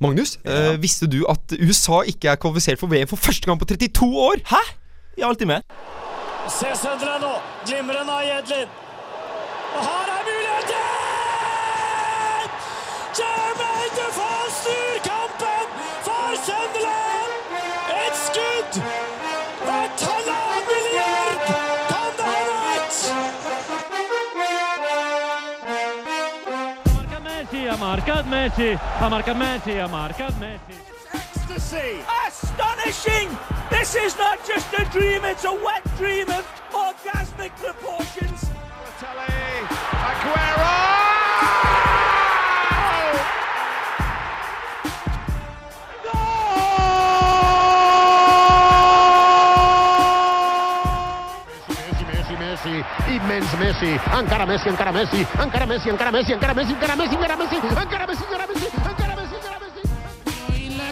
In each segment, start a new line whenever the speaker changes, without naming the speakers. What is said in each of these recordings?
Magnus, eh, visste du at USA ikke er kvalifisert for VM for første gang på 32 år?
Hæ? Jeg er alltid med.
Se Søndre nå. Glimrende av Jedlin. Og her er muligheten! Jermaine Defoe snur kampen for Sunderland! Et skudd verdt halvannen milliard kan det ha vært!
marcat Messi, ha marcat Messi, ha marcat Messi, ha marcat Messi.
Astonishing! This is not just a dream, it's a wet dream of orgasmic proportions.
Messi, Messi, Messi, immens Messi, encara Messi, encara Messi, encara Messi, encara Messi, encara Messi, encara Messi, encara Messi, encara Messi, encara Messi, encara Messi, encara Messi.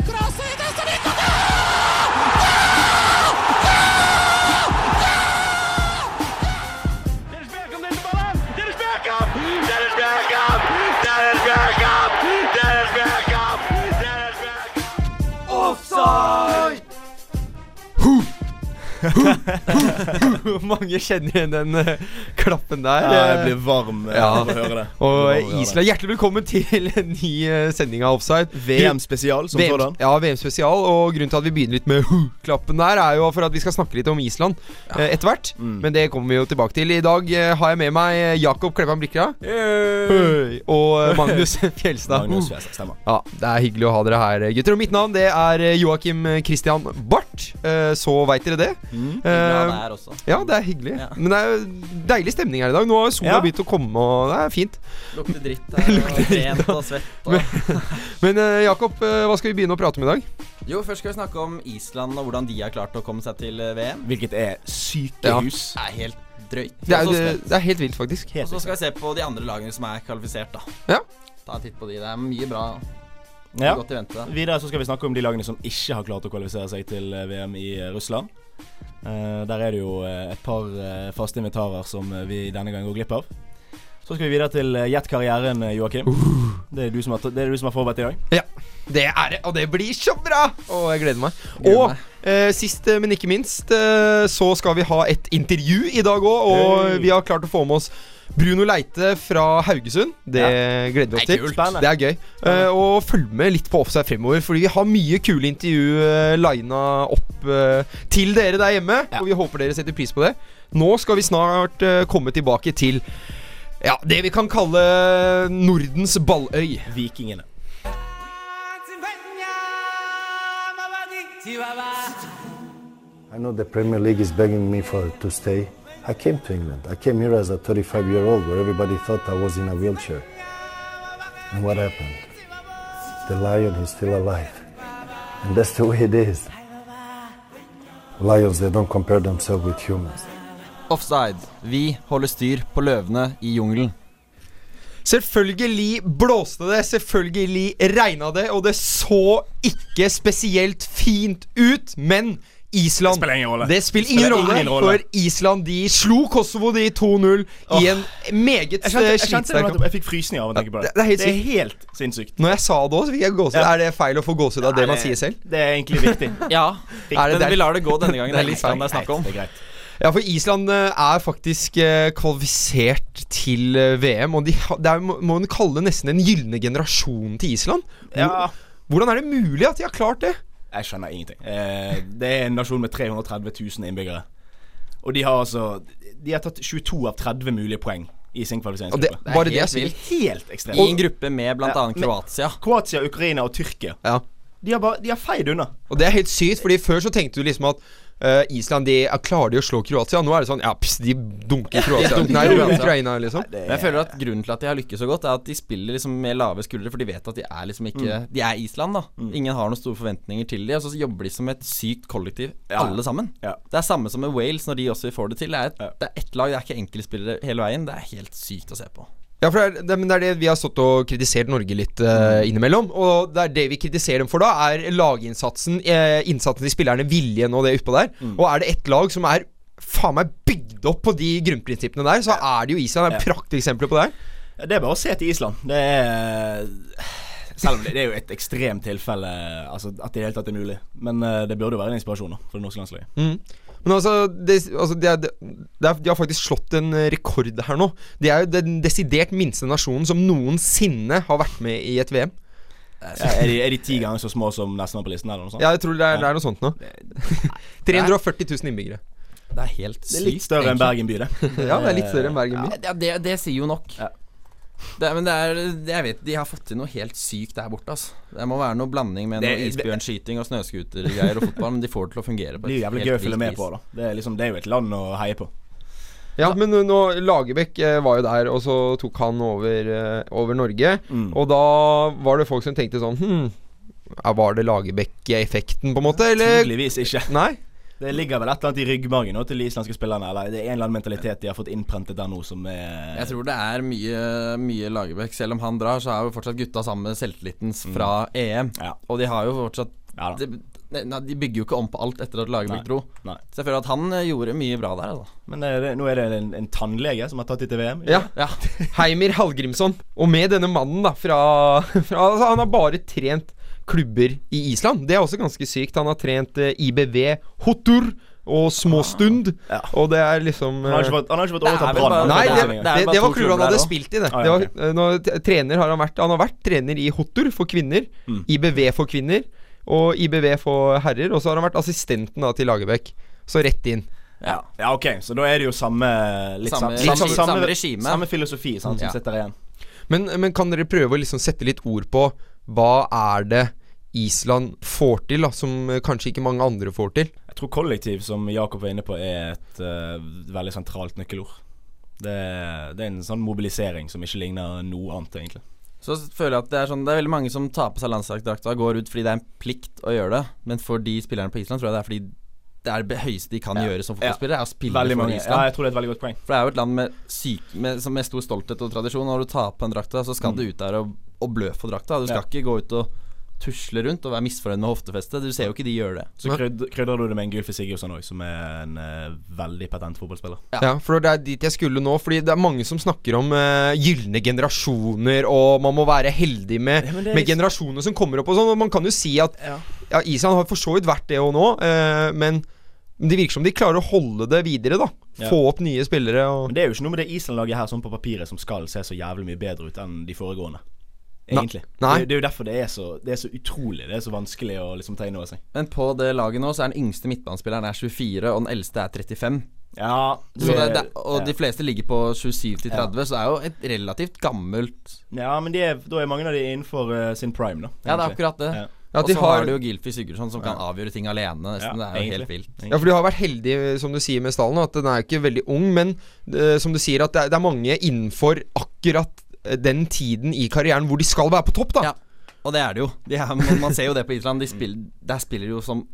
Hvor mange kjenner igjen den eh, klappen der?
Ja, jeg blir varm eh,
Ja.
av å høre det. Av å høre
Og
det.
Island, hjertelig velkommen til en ny eh, sending av Offside.
VM spesial, som
VM
sådan.
ja, VM spesial. Og grunnen til at vi begynner litt med klappen der, er jo for at vi skal snakke litt om Island eh, etter hvert.
Mm.
Men det kommer vi jo tilbake til. I dag eh, har jeg med meg eh, Jakob Kleppan Blikra Hei. og eh, Magnus Fjelstad.
Magnus Fjellstad, stemmer.
Ja, Det er hyggelig å ha dere her, eh, gutter. Og mitt navn det er eh, Joakim Christian Barth. Eh, Så veit dere det.
Mm.
Bra det
Eh,
her også.
Ja, det er hyggelig.
Ja.
Men det er jo deilig stemning her i dag. Nå har jo sola
Ja.
begynt å komme, og det er fint.
Lukter dritt her, og rent og svett og
Men eh, Jakob, eh, hva skal vi begynne å prate om i dag?
Jo, først skal vi snakke om Island og hvordan de har klart å komme seg til eh, VM.
Hvilket er sykehus.
Det er helt drøyt.
Det er,
Og så
det,
skal-
det er helt vilt, faktisk.
Og så skal vi se på de andre lagene som er kvalifisert, da.
Ja.
Ta en titt på de. Det er mye bra og
Ja.
godt i vente.
Videre så skal vi snakke om de lagene som ikke har klart å kvalifisere seg til eh, VM i eh, Russland. Eh, der er det jo eh, et par eh, faste invitarer som eh, vi denne gangen går glipp av. Så skal vi videre til eh, Gjett karrieren, eh, Joakim. Det, er du som har, det er du som har forberedt i dag.
Ja, det er det, og det blir så bra! Og jeg gleder meg.
Gleder
og
meg.
eh, sist, eh, men ikke minst, eh, så skal vi ha et intervju i dag òg, og
Hey.
vi har klart å få med oss Bruno Leite fra Haugesund. Det gleder vi oss
Det er
til.
kult. Spennende.
Det er gøy. Eh, og følg med litt på Offside fremover, fordi vi har mye kule intervju eh, lina opp eh, til dere der hjemme. Og vi håper dere setter pris på det. Nå skal vi snart eh, komme tilbake til ja, det vi kan kalle Nordens balløy.
Vikingene.
I know the Premier League is begging me for to stay. I came to England. I came here as a 35-year-old, where everybody thought I was in a wheelchair. And what happened? The lion is still alive, and that's the way it is. Lions, they don't compare themselves with humans.
Offside. Vi holder styr på løvene i jungelen.
Selvfølgelig blåste det, selvfølgelig regna det, og det så ikke spesielt fint ut, men Island
Det spiller ingen rolle.
Det spiller ingen
Det spiller
rolle,
ingen rolle.
For Island de slo Kosovo de 2-0 i en meget eh,
Jeg kjente, jeg, kjente det
slitsterk
nå
kamp.
etterpå. jeg fikk frysninger av å tenke på det.
det- det er helt
det er helt sinnssykt.
Når jeg sa det òg, fikk jeg gåsehud.
Ja.
Er det feil å få gåsehud av det man sier selv?
Det er egentlig viktig.
Ja,
Er det
men
der?
vi lar det gå denne gangen.
Det er
Det er
litt
Island
feil.
det er snakk om.
Det er greit.
Ja, for Island eh, er faktisk eh, kvalifisert til eh, VM, og de, ha- det er, jo- må man kalle nesten den gylne generasjonen til Island. Hvor-
Ja.
Hvordan er det mulig at de har klart det?
Jeg skjønner ingenting. Eh, det er en nasjon med 330 000 innbyggere. Og de har altså De har tatt 22 av 30 mulige poeng i sin
Og det,
kvalifiseringsgruppe.
bare det er
helt
så
vilt.
Helt ekstremt.
I
Og
en gruppe med
Ja,
bl.a.
men-
Kroatia.
Kroatia, Ukraina og Tyrkia.
Ja.
De har, bare, de har feid unna.
Og det er helt sykt, fordi før så tenkte du liksom at eh, Island de ja, klarer de å slå Kroatia. Nå er det sånn ja, pss, de dunker Kroatia.
dunker
Nei,
Kroatia.
Ukraina, liksom.
Men jeg føler at Grunnen til at de har lykkes så godt, er at de spiller liksom med lave skuldre. For de vet at de er liksom ikke
Mm.
De er Island, da. Ingen har noen store forventninger til de Og så jobber de som et sykt kollektiv,
Ja.
alle sammen.
Ja.
Det er samme som med Wales, når de også får det til. Det er, et,
Ja.
det er ett lag, det er ikke enkeltspillere hele veien. Det er helt sykt å se på.
Ja, for det er, det, men det er det vi har stått og kritisert Norge litt eh, innimellom. Og det er det vi kritiserer dem for da, er laginnsatsen, eh, innsatsen til spillerne, viljen og det utpå der. Og er det ett lag som er faen meg bygd opp på de grunnprinsippene der, så er det jo Island. Det er prakteksempler på det her.
Det er bare å se til Island. Det er Selv om det, det er jo et ekstremt tilfelle altså, at det i det hele tatt er mulig. Men eh, det burde jo være en inspirasjon da, for det norske landslaget.
Men altså, det, altså det, er- det, er, De har faktisk slått en eh, rekord her nå. De er jo den desidert minste nasjonen som noensinne har vært med i et VM.
Ja, er, de, er de ti ganger så små som nestemann på listen, eller noe sånt?
Ja, jeg tror det er, det er noe sånt nå. 340 000 innbyggere.
Det er helt sykt.
Det er litt større enn
egentlig.
Bergen by, det.
Ja, det er litt større enn Bergen by.
Ja, det, det sier jo nok.
Ja.
Det, er- men det er det, Jeg vet de har fått til noe helt sykt der borte, altså. Det må være noe blanding med noe
Det- det-
isbjørnskyting og snøscootergreier og fotball, men de får det til å fungere på
Det blir jo jævlig
helt
gøy å følge
vilt
med
vis.
på. da det er, liksom, det er jo et land å heie på.
Ja, men nå Lagerbäck eh, var jo der, og så tok han over, eh, over Norge.
Mm.
Og da var det folk som tenkte sånn Hm, ja, var det Lagerbäck-effekten, på en måte? Eller?
Tydeligvis ikke.
Nei?
Det ligger vel et eller annet i ryggmargen nå til de islandske spillerne. Eller det er en eller annen mentalitet de har fått innprentet der nå som er
Jeg tror det er mye, mye Lagerbäck. Selv om han drar, så er jo fortsatt gutta sammen med selvtilliten fra EM.
Mm. Ja.
Og de har jo fortsatt
Ja da.
de, nei, de bygger jo ikke om på alt etter at
Nei.
Lagerbäck dro.
Nei.
Så jeg føler at han eh, gjorde mye bra der, altså.
Men eh, det, er det, nå er det en, en tannlege som har tatt dem til VM. ikke
Ja.
Ja.
Heimir Hallgrimsson. Og med denne mannen, da, fra, fra altså, Han har bare trent klubber i Island. Det er også ganske sykt. Han har trent eh, IBV Hotur og Småstund,
Ah, Ja.
og det er liksom
Han har ikke
eh,
fått, han har ikke fått
Det er
overtatt
vel
Brann.
bare-
Nei,
Det
det,
er-
det,
det
det,
er bare
var
to
klubben han
klubber
hadde
der også.
spilt i, det.
Ah,
det
ja,
var,
ok.
eh, nå, t- trener har han vært. Han har vært trener i Hotur for kvinner,
Mm.
IBV for kvinner og IBV for herrer. Og så har han vært assistenten da, til Lagerbäck. Så rett inn.
Ja. ja, ok, så da er det jo samme litt
Samme-
sam-
litt
samme-
samme
samme-
regime.
Samme filosofi sant, som
Ja.
sitter igjen.
Men, men kan dere prøve å liksom sette litt ord på hva er det Island får til, da, som eh, kanskje ikke mange andre får til?
Jeg tror kollektiv, som Jakob var inne på, er et eh, veldig sentralt nøkkelord. Det, det er en sånn mobilisering som ikke ligner noe annet, egentlig.
Så føler jeg at det er sånn Det er veldig mange som tar på seg landslagsdrakta og går ut fordi det er en plikt å gjøre det. Men for de spillerne på Island tror jeg det er fordi det er det høyeste de kan
Ja.
gjøre som
Ja.
fotballspillere, er å spille
Veldig
for
mange. Ja,
Island.
jeg tror det er et veldig godt poeng.
For det er jo et land med, syk, med, som- med stor stolthet og tradisjon. og Når du tar på en drakta, så skal du ut der og, og blø for drakta. Du skal
Mm. Ja.
ikke gå ut og tusle rundt og være misfornøyd med hoftefestet. Du ser jo ikke de gjør det.
Så kryd, krydrer du det med en Gylfi Sigurdsson òg, som er en eh, veldig patent fotballspiller.
Ja. for det er dit jeg skulle nå. Fordi det er mange som snakker om uh, gylne generasjoner, og man må være heldig med,
Ja, men det er
med
liksom-
generasjoner som kommer opp og sånn. Og man kan jo si at ja. Island har for så vidt vært det òg nå, eh, men det virker som de klarer å holde det videre, da.
Ja.
Få opp nye spillere og
Men det er jo ikke noe med det Island-laget her sånn på papiret som skal se så jævlig mye bedre ut enn de foregående. Egentlig.
Nei.
Det, det er jo derfor det er, så, det er så utrolig. Det er så vanskelig å liksom ta inn over seg.
Men på det laget nå så er den yngste midtbanespilleren er 24, og den eldste er 35.
Ja,
Så det, det, og de fleste ligger på 27 til 30, så det er jo et relativt gammelt
ja men de er, da er mange av de innenfor eh, sin prime, da.
Ja, det er
egentlig.
akkurat det.
Ja.
Ja,
og
de
så har
har-
du jo Gylfi Sigurdsson som kan avgjøre ting alene,
Ja,
nesten. det er jo helt
egentlig.
vilt.
Ja, for de har vært heldige, eh, som du sier, med stallen. At den er ikke veldig ung, men eh, som du sier, at det er, det er mange innenfor akkurat eh, den tiden i karrieren hvor de skal være på topp, da.
Ja, og det er det jo. De er, man, man ser jo det på Island. De spill, der spiller de jo som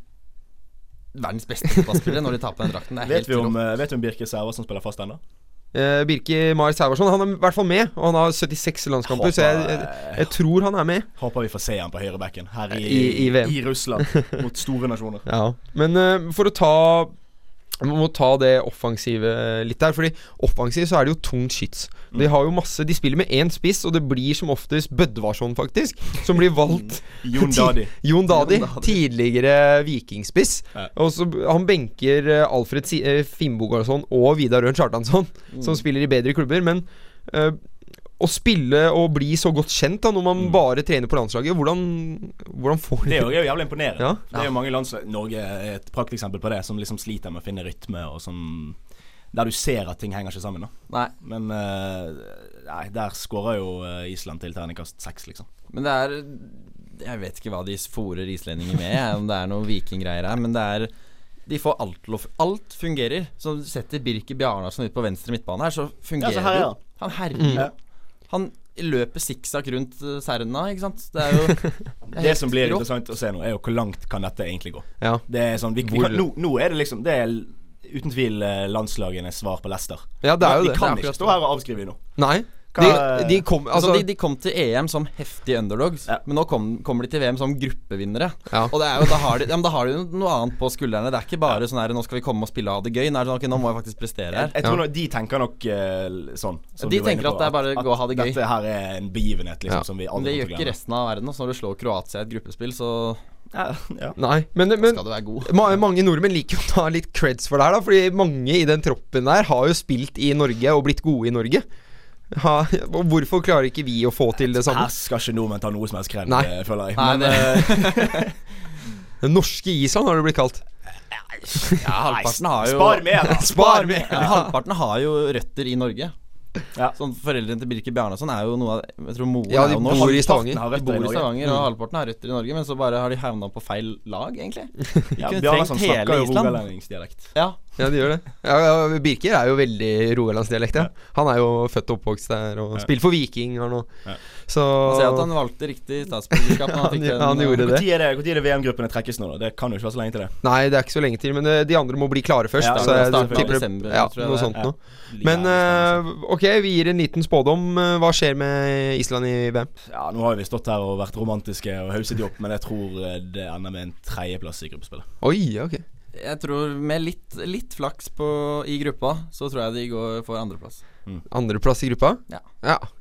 verdens beste fotballspillere når de tar på den drakten. Det er
Vet
helt
vi om,
rått.
eh, vet vi om Birke Server som spiller fast ennå?
Eh, Birki Mar Sæversson Han er i hvert fall med, og han har 76 landskamper, så jeg, jeg, jeg tror han er med.
Håper vi får se han på høyrebacken her i,
I- i VM.
i Russland, mot store nasjoner.
Ja. Men eh, for å ta man må ta det offensive litt der. Fordi offensivt så er det jo tungt skyts.
Mm.
De har jo masse De spiller med én spiss, og det blir som oftest Bødvarsson, faktisk, som blir valgt
Mm. Jon Dadi.
Ti- Jon Dadi,
Jon Dadi.
tidligere vikingspiss.
Ja.
Og så b- Han benker eh, Alfred si eh, Finnbogason og Vidar Ørn Chartansson,
Mm.
som spiller i bedre klubber. Men eh, å spille og bli så godt kjent da når man bare trener på landslaget, hvordan, hvordan får
Mm. Det er jo- er jo jævlig imponerende.
Ja.
For Det er jo mange landslag Norge er et prakteksempel på det, som liksom sliter med å finne rytme, og som Der du ser at ting henger ikke sammen. da
Nei,
Men eh, nei, der skårer jo eh, Island til terningkast seks, liksom.
men det er Jeg vet ikke hva de fôrer islendinger med, jeg, om det er noe vikinggreier her, men det er de får alt til å f- Alt fungerer. Så setter Birke Bjarnason ut på venstre midtbane her, så fungerer
Ja, så
det
herjer
jo. Han herjer
Mm.
jo. Han løper sikksakk rundt eh, Serna, ikke sant. Det er jo det er
Det
helt
som blir
rått.
interessant å se nå, er jo hvor langt kan dette egentlig gå.
Ja.
Det er sånn, vi, vi
Hvor-
kan, nå, nå er det liksom Det er l- uten tvil eh, landslagenes svar på Leicester.
Ja, det er jo
vi
det.
kan
Det er
ikke
akkurat
stå her og avskrive dem nå.
Nei. De,
Hva-
de kom
Altså,
Altså,
de, de kom til EM som heftige underdogs,
Ja.
men nå kom, kommer de til VM som gruppevinnere.
Ja.
Og det er jo, da, har de, ja, men da har de jo noe annet på skuldrene. Det er ikke bare sånn her 'nå skal vi komme og spille og ha det gøy'. Nei, det er sånn, ok, nå må jeg faktisk prestere her.
Jeg tror nok, De tenker nok eh, sånn.
De
som du var inne
tenker at
på,
det er bare gå og ha det gøy.
Dette her er en begivenhet liksom,
Ja.
som vi
Men det
aldri
gjør ikke resten av verden. altså, Når du slår Kroatia i et gruppespill, så
resten. Ja.
Nei, men, men
skal du være god.
ma mange nordmenn liker jo å ta litt creds for det her, da. Fordi mange i den troppen der har jo spilt i Norge og blitt gode i Norge. Ha, og hvorfor klarer ikke vi å få til det samme?
Her skal ikke nordmenn ta noe som helst kred,
Nei.
eh, føler jeg.
Nei,
Men,
det,
Det norske Island har det blitt kalt.
ja, halvparten har jo
Spar mer, da!
Spar med!
Ja, men halvparten har jo røtter i Norge.
Ja.
Sånn, Foreldrene til Birke Bjarnason er jo noe av Jeg tror moren
Ja,
er
de
jo
bor
norsk.
i Stavanger.
Har
De
røtter
bor i
Norge.
Stavanger, og halvparten har røtter i Norge, men så bare har de havna på feil lag, egentlig. De
Ja,
kunne
Bjarne
trengt
som
hele
snakker jo
Island.
rogalendingsdialekt.
Ja,
Ja, de gjør det. Ja, ja, Birker er jo veldig rogalandsdialekt. Ja. Han er jo født og oppvokst der og spiller for Viking her nå. Så
Man ser at han valgte riktig statsborgerskap. når
han,
fikk den,
han
eh,
gjorde det.
Når er det, hvor tid er det VM-gruppene trekkes nå, da? Det kan jo ikke være så lenge til det.
Nei, det er ikke så lenge til, men eh, de andre må bli klare først.
Ja,
så
det
jeg
starter fra
tipper det-
desember,
ja,
tror jeg
noe
det er.
sånt noe. Men eh, ok, vi gir en liten spådom. Eh, Hva skjer med Island i VM?
Ja, nå har vi stått her og vært romantiske og hauset de opp, men jeg tror eh, det ender med en tredjeplass i gruppespillet.
Oi, ok.
Jeg tror med litt, litt flaks på, i gruppa, så tror jeg de går for andreplass.
Andreplass i gruppa?
Ja.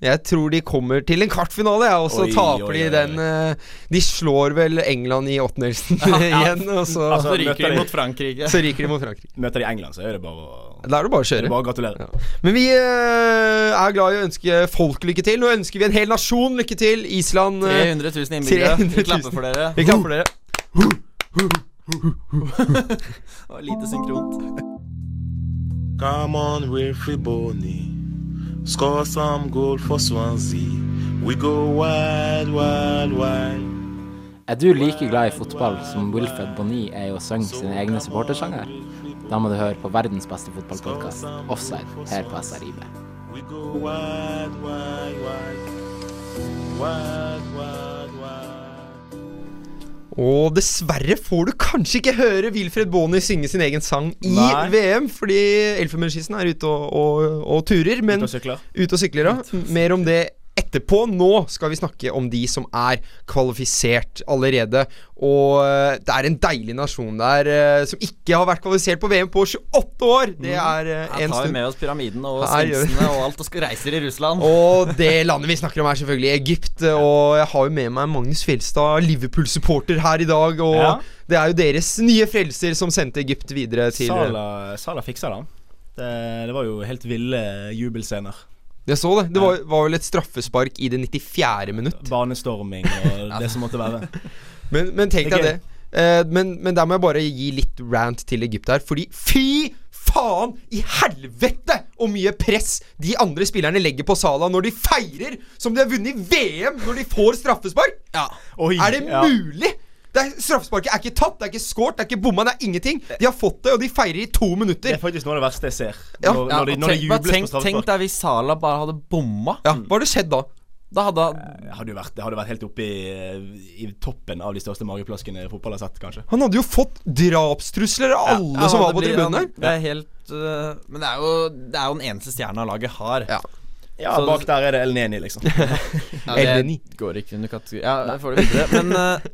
Jeg tror de kommer til en kvartfinale, ja, og så
Oi,
taper
oi,
de
oi, oi.
den eh, De slår vel England i åttendelsen igjen, og så,
Altså,
Så ryker
møter
de
de-
mot Frankrike.
så ryker de mot Frankrike.
Møter de England, så er det bare å
Da er det bare å
det
kjøre.
er bare å gratulere.
Men vi eh, er glad i å ønske folk lykke til. Nå ønsker vi en hel nasjon lykke til. Island eh,
300 000 innbyggere.
300 000.
Vi klapper for dere.
Vi klapper dere.
Det var lite synkront.
Come on, Wilfrey Boney. Score some goal for Swansea. We go wild, wild, wild.
Er du like glad i fotball som Wilfred Bonny er i å synge sine egne supportersanger? Da må du høre på verdens beste fotballpodkast, Offside, her på SRIB.
We go wild, wild, wild. Wild, wild, wild.
Og dessverre får du kanskje ikke høre Wilfred Boni synge sin egen sang i
Nei.
VM, fordi Elfenbenskysten er ute og, og, og turer. Men
Ute og sykler.
Ute og sykler, ja. Mer om det etterpå. Nå skal vi snakke om de som er kvalifisert allerede. Og eh, det er en deilig nasjon der eh, som ikke har vært kvalifisert på VM på 28 år! Det er eh,
Her
en
tar vi
stund.
med oss pyramiden og
Her gjør vi-
sfinksene og alt og skal reiser i Russland.
Og det landet vi snakker om, er selvfølgelig Egypt. Og jeg har jo med meg Magnus Fjelstad, Liverpool-supporter her i dag. Og
Ja.
det er jo deres nye frelser som sendte Egypt videre til
Sala, Sala fiksa det. han. Det, det var jo helt ville jubelscener.
Jeg så det. Det var, var vel et straffespark i det 94. minutt.
Banestorming og det som måtte være.
Men, men tenk deg
Ok.
det. Eh, men, men der må jeg bare gi litt rant til Egypt her, fordi fy faen i helvete hvor mye press de andre spillerne legger på Salah når de feirer som de har vunnet VM når de får straffespark!
Oi,
er det
ja.
mulig?! Det er, straffesparket er ikke tatt, det er ikke scoret, det er ikke bomma, det er ingenting. De har fått det, og de feirer i to
Det
minutter.
er faktisk noe av det verste jeg ser.
Ja.
Ja,
Når, når, de,
og
når de
tenk, bare
jubler
tenk,
på
tenk
straffespark.
deg hvis Sala bare hadde bomma.
Ja, Hva hadde skjedd da?
Da hadde
Det hadde jo vært, det hadde vært helt oppe i, i toppen av de største mageplaskene fotball har sett, kanskje.
Han hadde jo fått drapstrusler av alle
Ja,
som var
det
på
blir-
tribunen
han-
her.
Det er helt øh, Men det er, jo, det er jo den eneste stjerna laget har.
Ja.
Ja,
Så-
Bak der er det El Neni, liksom.
Ja,
Elneny.
det går ikke under kategori Ja, jeg får det videre. Men eh,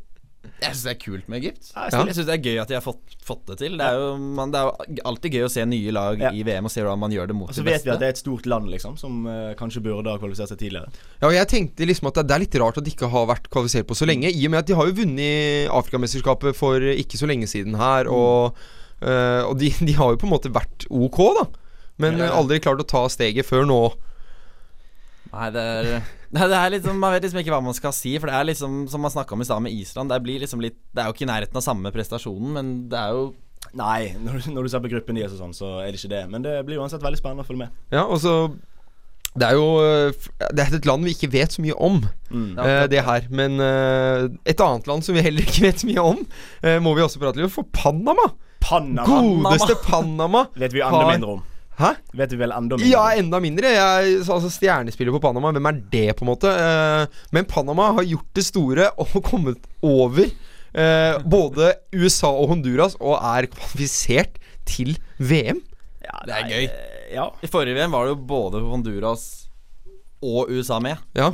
jeg syns det er kult med Egypt.
Ja, jeg
stiller.
Jeg syns det er gøy at de har fått, fått det til. Det er, jo, man, det er jo alltid gøy å se nye lag
Ja.
i VM og se hvordan man gjør det mot
Og så
de
vet vi
beste.
at det er et stort land, liksom, som eh, kanskje burde ha kvalifisert seg tidligere.
Ja, og jeg tenkte liksom at det- Det er litt rart at de ikke har vært kvalifisert på så
Mm.
lenge. I og med at de har jo vunnet Afrikamesterskapet for ikke så lenge siden her.
Mm.
Og, eh, og de, de har jo på en måte vært ok, da. Men
Ja.
eh, aldri klart å ta steget før nå.
Nei, det er, nei, det er liksom, Man vet liksom ikke hva man skal si. For det er liksom, som man snakka om i stad med Island, det, blir liksom litt, det er jo ikke i nærheten av samme prestasjonen, men det er jo
Nei, når, du- når du ser på gruppen deres og sånn, så er det ikke det. Men det blir uansett veldig spennende å følge med.
Ja, og så Det er jo eh, f- Det er et land vi ikke vet så mye om,
Mm.
Ja,
eh, det her. Men eh, et annet land som vi heller ikke vet så mye om, eh, må vi også prate litt om, for Panama!
Panama
Godeste Panama!
vet vi enda
Har-
mindre om.
Hæ?
Vet vi vel enda mindre
Ja,
om.
enda mindre. Jeg, altså Stjernespiller på Panama, hvem er det, på en måte? Eh, men Panama har gjort det store og kommet over eh, både USA og Honduras og er kvalifisert til VM.
Ja,
det er gøy.
eh, Ja.
I forrige VM var det jo både Honduras og USA med.
Ja.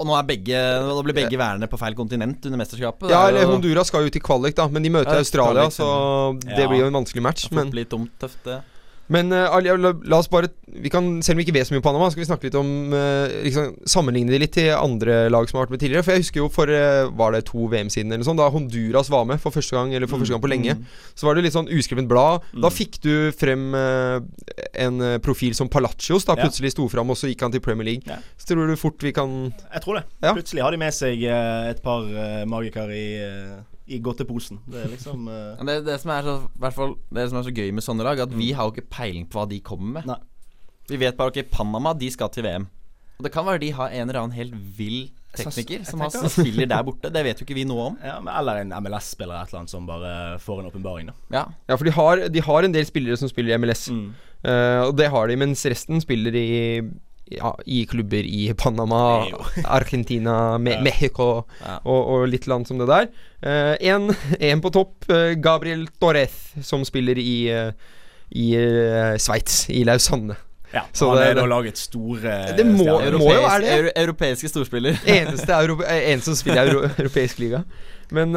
Og nå, er begge, nå blir begge værende på feil kontinent under mesterskapet. Det
ja,
er
eller
jo
Honduras skal jo til kvalik, da, men de møter
Ja,
Australia,
kvalik,
så det
Ja.
blir jo en vanskelig match.
fort
Men,
litt dumt tøft, det.
men eh, alle- la, la oss bare vi kan, Selv om vi ikke vet så mye om Panama, skal vi snakke litt om eh, liksom, Sammenligne de litt til andre lag som har vært med tidligere. For jeg husker jo for eh, Var det to VM siden eller noe sånt, da Honduras var med for første gang Eller for første
Mm.
gang på lenge, så var det litt sånn uskrevet blad. Da fikk du frem eh, en eh, profil som Palacios, da
Ja.
plutselig sto fram, og så gikk han til Premier League.
Ja.
Så tror du fort vi kan
Jeg tror det.
Ja.
Plutselig har de med seg eh, et par eh, magikere i, eh, i godteposen. Det er liksom eh,
Men det, det, som er så, i hvert fall, det som er så gøy med sånne lag, at vi har jo ikke peiling på hva de kommer med.
Nei.
Vi vet bare ok, Panama de skal til VM. Og det kan være de har en eller annen helt vill tekniker som, har,
tenker-
som spiller der borte. Det vet jo ikke vi noe om.
ja, men, Eller en MLS-spiller eller et eller annet som bare får en åpenbaring, da.
Ja,
Ja, for de har, de har en del spillere som spiller i MLS,
Mm.
Eh, og det har de, mens resten spiller i ja, i klubber i Panama, Argentina, Me Mexico
Ja.
og, og litt land som det der. Én på topp, eh, Gabriel Torres, som spiller i, eh, i eh, Sveits, i Lausanne.
Ja,
Så
han
det-
er da
det-
laget store
Det må-
stjerner.
må jo være det.
euro, europeiske storspiller.
Eneste euro eh, en som spiller i euro europeisk liga. Men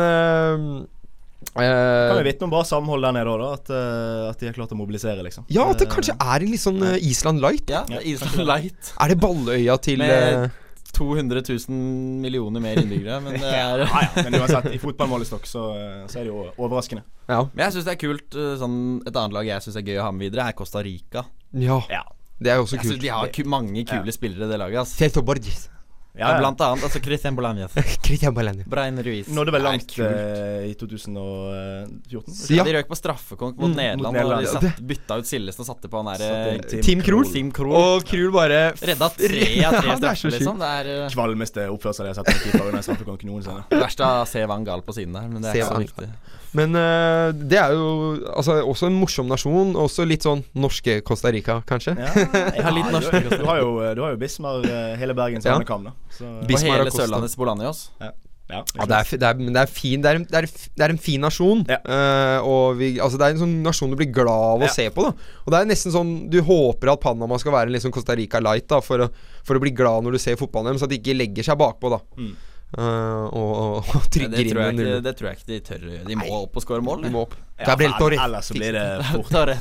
eh, eh,
Kan jo vitne om bra samhold der nede òg, da. At, eh, at de har klart å mobilisere, liksom.
Ja, at det kanskje er en litt sånn eh, Island light.
Ja, det er Island Light.
Er det Balløya til
Med
eh,
200 000 millioner mer innbyggere, men det er
Ja, ja, men uansett, i fotballmålestokk så, eh, så er det jo overraskende.
Ja.
Men jeg syns det er kult. eh, Sånn, et annet lag jeg syns er gøy å ha med videre, er Costa Rica.
ja.
Ja.
Det er jo også
Jeg synes
kult.
de har ku mange kule spillere, i det laget. ass.
Celto Borges.
Ja, ja.
Blant annet altså Christian Bolañez,
Cristian Balendi.
Brian Ruiz.
Nådde vel
Det er
langt
kult.
eh, i eh, 2014.
Ja. Mm.
De røk på straffekonk mot Nederland,
Nederland,
og de
ja.
satt, bytta ut Sillesen og satte på han der
Satte
eh,
inn
Team Krul.
Tim Krul.
Og Krul bare f-
Redda tre av tre
Ja, det er så
straffer, liksom. Det er eh,
Kvalmeste oppførsel jeg har sett av en keeper under en straffekonk noensinne.
verst av C. Van Gaal på siden der, men det er
Se
ikke så
Van
viktig.
Men eh, det er jo altså, også en morsom nasjon. Også litt sånn norske Costa Rica, kanskje.
Ja, jeg
har litt norsk
du, du har jo, du har jo Bismar eh, hele Bergens
Ja.
andekam, da. Så,
Bis-
Og
Bismar
hele
Acosta.
Sørlandets Bolanios.
ja,
Ja, det er, f- det er, men det er fin Det er en, det er, f- det er en fin nasjon.
Ja.
Eh, og vi, altså, det er en sånn nasjon du blir glad av å
Ja.
se på. Da. Og det er nesten sånn Du håper at Panama skal være en litt sånn Costa Rica light da, for, å, for å bli glad når du ser fotballen deres, så at de ikke legger seg bakpå da.
Mm.
Eh, og, og, og
Men
trygger
Det
inn
tror, jeg
med
ikke,
null.
det tror jeg ikke de tør å gjøre. De må opp og score mål.
De
de.
må opp.
Ja,
Gabriel
ell-
Torres.
Ellers så blir det fort
Tar det.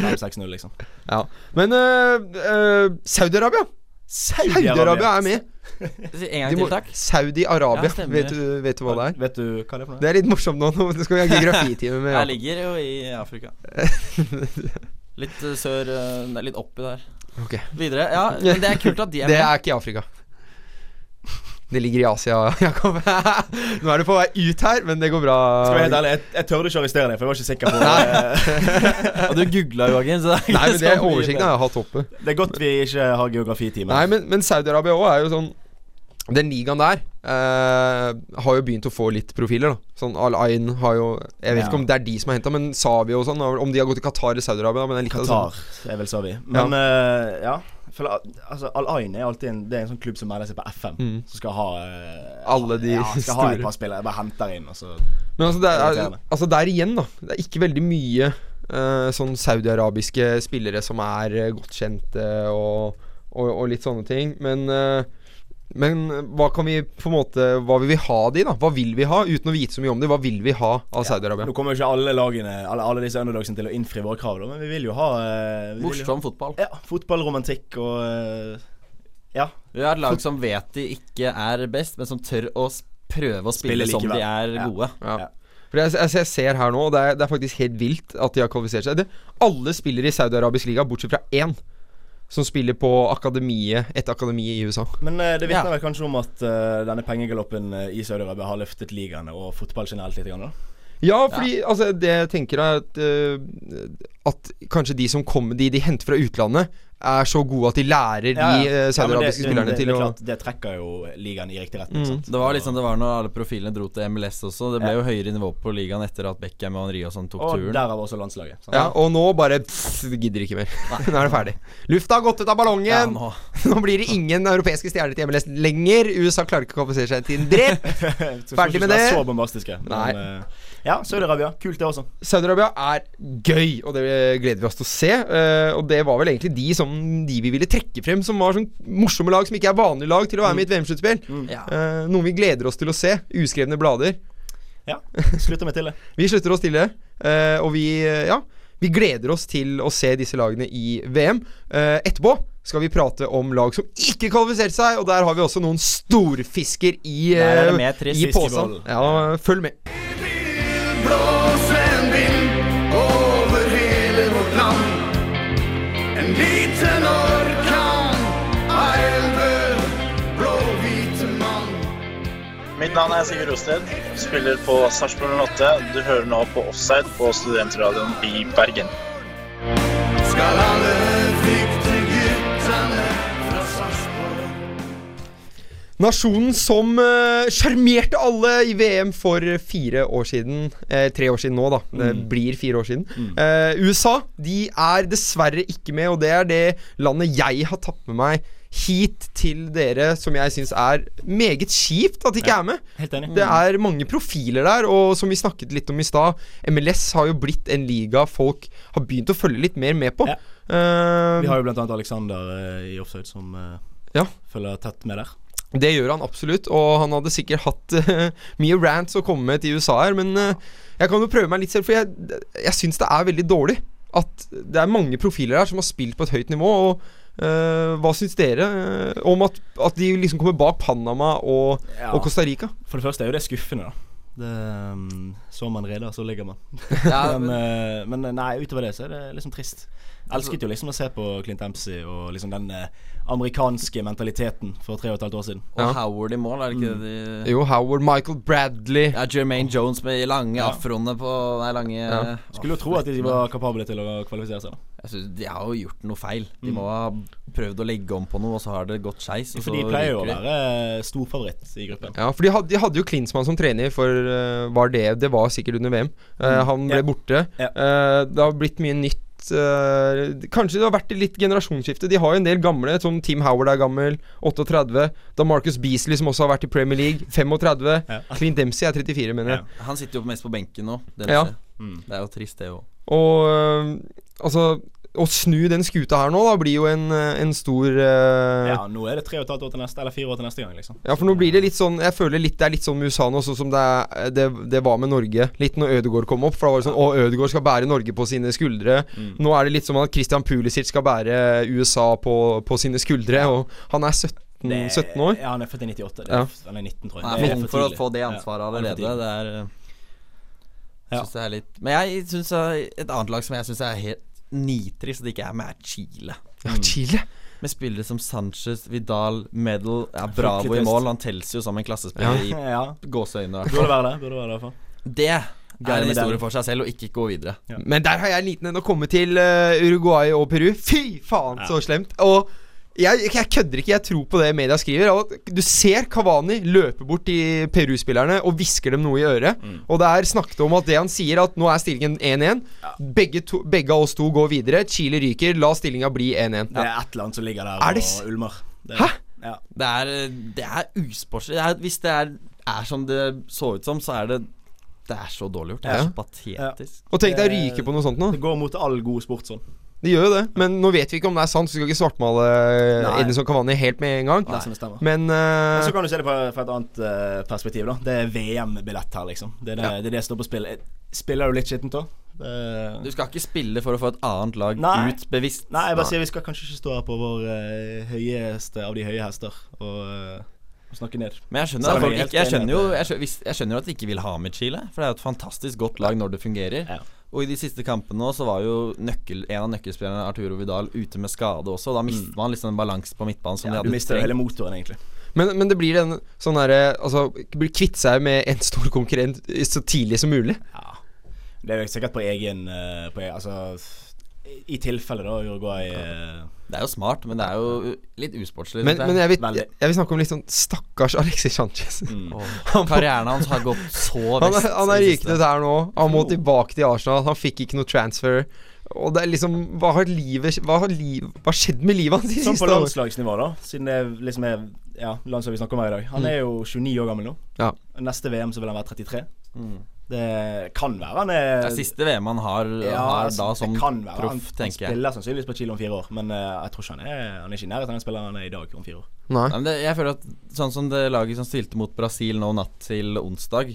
5-6-0, liksom.
Ja. Men eh, eh, Saudi-Arabia! Saudi-Arabia er med.
Si
De
En gang
må-
til, takk.
Saudi-Arabia.
Ja, stemmer.
vet, du- vet du hva det er?
Vet du hva det er for noe?
Det er litt morsomt nå. nå skal vi ha geografitime med
Jeg
Jakob.
ligger jo i Afrika. Litt eh, sør eh, Nei, litt oppi der.
Ok.
Videre. Ja, men det er kult at de er
Det
med.
er ikke i Afrika. Det ligger i Asia, Jakob. Nå er du på vei ut her, men det går bra.
Skal jeg være helt ærlig, jeg, jeg tørde ikke å arrestere deg, for jeg var ikke sikker på eh,
Og du googla, Joakim, så det er ikke
Nei, men det
så
er
mye
oversikten
med.
jeg har hatt oppe.
Det er godt vi ikke har geografitime.
Nei, men, men Saudi-Arabia òg er jo sånn Den ligaen der eh, har jo begynt å få litt profiler, da. Sånn Al-Ain har jo Jeg vet
Ja.
ikke om det er de som har henta, men Savi og sånn. Om de har gått til Qatar eller Saudi-Arabia, men det er litt av det sånn- samme.
Qatar, er vel sa vi. Men eh, ja. For, altså, Al Ain er alltid en, det er en sånn klubb som melder seg på FM, som skal ha eh,
Mm. Alle de
ja, skal ha
store.
et par spillere. Bare henter inn, og så
Men altså, det er,
Irriterende.
altså der igjen, da. Det er ikke veldig mye eh, sånn saudiarabiske spillere som er eh, godt kjente og, og, og litt sånne ting. Men, eh, men hva kan vi på en måte Hva vil vi ha de, da? Hva vil vi ha? Uten å vite så mye om det, hva vil vi ha av Saudi-Arabia?
Nå kommer jo ikke alle lagene Alle, alle disse underdagsene til å innfri våre krav, da, men vi vil jo ha eh, vi vil jo-
Morsom fotball.
Ja, fotballromantikk og eh, Ja.
Vi har et lag som vet de ikke er best, men som tør å s- prøve å spille,
Spille
som de
likevel.
er
Ja.
gode.
Ja.
Ja.
For jeg, jeg, jeg ser her nå, og det er, det er faktisk helt vilt at de har kvalifisert seg. Det, alle spiller i saudi-arabisk liga, bortsett fra én, som spiller på akademiet, et akademi i USA.
Men eh, det vitner
Ja.
vel kanskje om at eh, denne pengegaloppen eh, i Saudi-Arabia har løftet ligaene og fotball generelt litt. Grann, da.
Ja, fordi altså, det jeg tenker er at, eh, at kanskje de som kommer, de de henter fra utlandet, er så gode at de lærer de eh,
men
saudiarabiske
det-
spillerne
det,
til
det, er
å Mm.
klart, det trekker jo ligaen i riktig retning. sant?
Det var liksom det var når alle profilene dro til MLS også. Det ble jo høyere nivå på ligaen etter at Beckham og Henri og sånn tok
Og
turen.
derav også landslaget. sant?
ja, Og nå bare pff, gidder ikke mer. nå er det ferdig. Lufta har gått ut av ballongen.
Ja,
nå.
nå.
blir det ingen europeiske stjerner til E MLS lenger. USA klarer ikke å kvalifisere seg til en dritt.
Jeg tror
Ferdig med
ikke vi skal være
det.
Så bombastiske. Men,
Nei.
eh, ja, Saudi-Arabia. Kult, det også.
Saudi-Arabia er gøy, og det gleder vi oss til å se. eh, og det var vel egentlig de som liksom de vi ville trekke frem, som var sånn morsomme lag som ikke er vanlige lag, til å være med i et VM-sluttspill.
Mm. Ja.
Eh, noen vi gleder oss til å se. Uskrevne blader.
Ja, slutter meg til det.
Vi slutter oss til det, eh, og vi, eh, ja, vi gleder oss til å se disse lagene i VM. Eh, etterpå skal vi prate om lag som ikke kvalifiserte seg, og der har vi også noen storfisker i,
Der er det
eh,
med tre
i
fisker i
posen.
bollen.
Ja, følg med.
Blås en vind over hele vårt land. En liten orkan av elver, blå-hvite mann.
Mitt navn er Sigurd Rosted, spiller på Sarpsborg 08. Du hører nå på Offside på studentradioen i Bergen.
Skal alle flykte guttene fra Sarpsborg.
Nasjonen som eh, sjarmerte alle i VM for fire år siden. Eh, tre år siden nå, da. Det
Mm.
blir fire år siden. Eh, USA de er dessverre ikke med, og det er det landet jeg har tatt med meg hit til dere, som jeg syns er meget kjipt at de ikke er med.
Helt enig.
Det er mange profiler der, og som vi snakket litt om i stad, MLS har jo blitt en liga folk har begynt å følge litt mer med på.
Ja.
Eh,
Vi har jo blant annet Alexander eh, i offside som eh,
Ja.
følger tett med der.
Det gjør han absolutt, og han hadde sikkert hatt eh, mye rants å komme med til USA her, men eh, jeg kan jo prøve meg litt selv, for jeg, jeg syns det er veldig dårlig at det er mange profiler her som har spilt på et høyt nivå, og eh, hva syns dere eh, om at, at de liksom kommer bak Panama og,
Ja.
og Costa Rica?
For det første er jo det skuffende, da. Det, um, så man reder, så ligger man.
Ja, Altså-
men,
men,
eh, men nei, utover det så er det liksom trist. Jeg elsket jo liksom å se på Clint Dempsey og liksom den eh, amerikanske mentaliteten for tre og et halvt år siden.
ja.
og Howard i mål, er det
Mm.
ikke det de
Jo, Howard, Michael Bradley
Ja, Jermaine Jones med de lange afroene på Nei, lange
Ja.
Skulle jo tro at de var kapable til å kvalifisere seg. da
Jeg synes De har jo gjort noe feil. De må ha prøvd å legge om på noe, og så har det gått skeis. og
Mm. For
så
de pleier jo å
ryker de.
være eh, storfavoritt i gruppen.
Ja, for de hadde, de hadde jo Klinsmann som trener, for eh, var det Det var sikkert under VM. Eh, han ble
Mm. Ja.
borte.
Ja.
Eh, det har blitt mye nytt. eh, kanskje det har vært litt generasjonsskifte. De har jo en del gamle, som Team Howard er gammel, 38. Da Marcus Beasley, som også har vært i Premier League, 35.
Ja.
Clint Dempsey er 34, mener jeg.
Ja. Mm.
Han sitter jo mest på benken nå. Det,
Ja.
det er jo trist, det òg.
Og eh, altså å snu den skuta her nå, da, blir jo en, eh, en stor eh,
Ja, nå er det tre og et halvt år til neste, eller fire år til neste gang, liksom.
Ja, for nå blir det litt sånn Jeg føler litt, det er litt sånn med USA nå, sånn som det, er, det, det var med Norge. Litt når Ødegaard kom opp. For da var det sånn Å, Ødegaard skal bære Norge på sine skuldre. Nå er det litt som at Christian Pulisic skal bære USA på, på sine skuldre. Og han er 17, 17 år.
Ja, han er født i 98. Det
Ja.
er, f- Eller 19, tror jeg.
Han
Det
er
er
for ung
for
for å
tidlig.
få det
Ja,
ansvaret
han er for
allerede.
tidlig.
Det er, eh,
Ja.
synes det er litt Men jeg syns et annet lag som jeg syns er helt nitrist at det ikke er med, er Chile.
Ja, Chile.
Med spillere som Sanchez, Vidal, Medal ja, Bravo i
trist.
mål. Han teller jo som en klassespiller i
Ja,
gåseøyne. i hvert
burde
fall.
være det. Burde være det, i hvert fall.
Det er en historie for seg selv, og ikke gå videre.
Ja.
Men der har jeg en liten en å komme til eh, Uruguay og Peru. Fy faen, så slemt! Og jeg, jeg kødder ikke, jeg tror på det media skriver. og at Du ser Kavani løpe bort til Peru-spillerne og hvisker dem noe i øret.
Mm.
Og det er snakket om at det han sier, at nå er stillingen 1-1. Begge, to- begge av oss to går videre. Chile ryker. La stillinga bli 1-1.
Det er et eller annet som ligger der
Er det s-
og ulmer. Det-
Hæ?
Ja.
Det er, eh, det er usportslig. Det er- Hvis det er, er som det så ut som, så er det Det er så dårlig gjort. Det er
Ja.
så patetisk.
Og tenk deg å
Eh,
ryke på noe sånt nå.
Det går mot all god sport sånn.
Det gjør jo det. Men nå vet vi ikke om det er sant, så vi skal ikke svartmale
Nei.
Edinson Kavani helt med en gang.
Det som det stemmer.
Men
Men
eh,
så kan du se det fra, fra et annet eh, perspektiv, da. Det er VM-billett her, liksom. Det er det, det, er det som står på spill. Jeg Spiller du litt skittent da? Det-
Du skal ikke spille for å få et annet lag
Nei.
ut bevisst.
Nei, jeg bare sier vi skal kanskje ikke stå her på vår eh, høyeste av de høye hester og eh, snakke ned.
Men jeg skjønner,
Så er
at folk
vi helt
ikke, jeg
enige
skjønner
at
jo
det-
jeg skjønner, hvis, jeg skjønner jo at de ikke vil ha med Chile, for det er jo et fantastisk godt lag når det fungerer.
Ja.
Og i de siste kampene nå så var jo nøkkel, en av nøkkelspillerne, Arturo Vidal, ute med skade også. Da mister man liksom en balanse på midtbanen som
Mm.
de
Ja, du
hadde
mister hele
trengt.
motoren, egentlig.
Men, men det blir den sånn derre Altså, blir kvitt seg med en stor konkurrent så tidlig som mulig.
Ja. Det er jo sikkert på egen eh, på, e- Altså i tilfelle, da, Uruguay eh,
Det er jo smart, men det er jo litt usportslig.
Men,
synes
men jeg, vil,
Veldig. Mm.
jeg, jeg vil snakke om litt sånn stakkars Alexis Sanchez.
Åh, Mm. Karrieren hans har gått så
Han
vest.
er, han er
i det siste.
Oh.
rykende der nå. Han må tilbake til Arsenal. Han fikk ikke noe transfer. Og det er liksom Hva har livet Hva har liv, hva har skjedd med livet hans de
Sånn
siste
på
årene?
landslagsnivå, da. Siden det liksom er ja, landslaget vi snakker om her i dag. Han er jo 29 år gammel nå.
Ja.
Neste VM så vil han være 33. Det kan være han er
Mm. Det er siste VM han har,
Ja,
har
altså,
da
det
som
kan være. Han-
proff, tenker jeg.
Han spiller sannsynligvis på Chile om fire år, men eh, jeg tror ikke han er Han er ikke i nærheten av den spilleren han er i dag om fire år.
Nei.
Nei, men det, jeg føler at Sånn som det laget som stilte mot Brasil nå natt til onsdag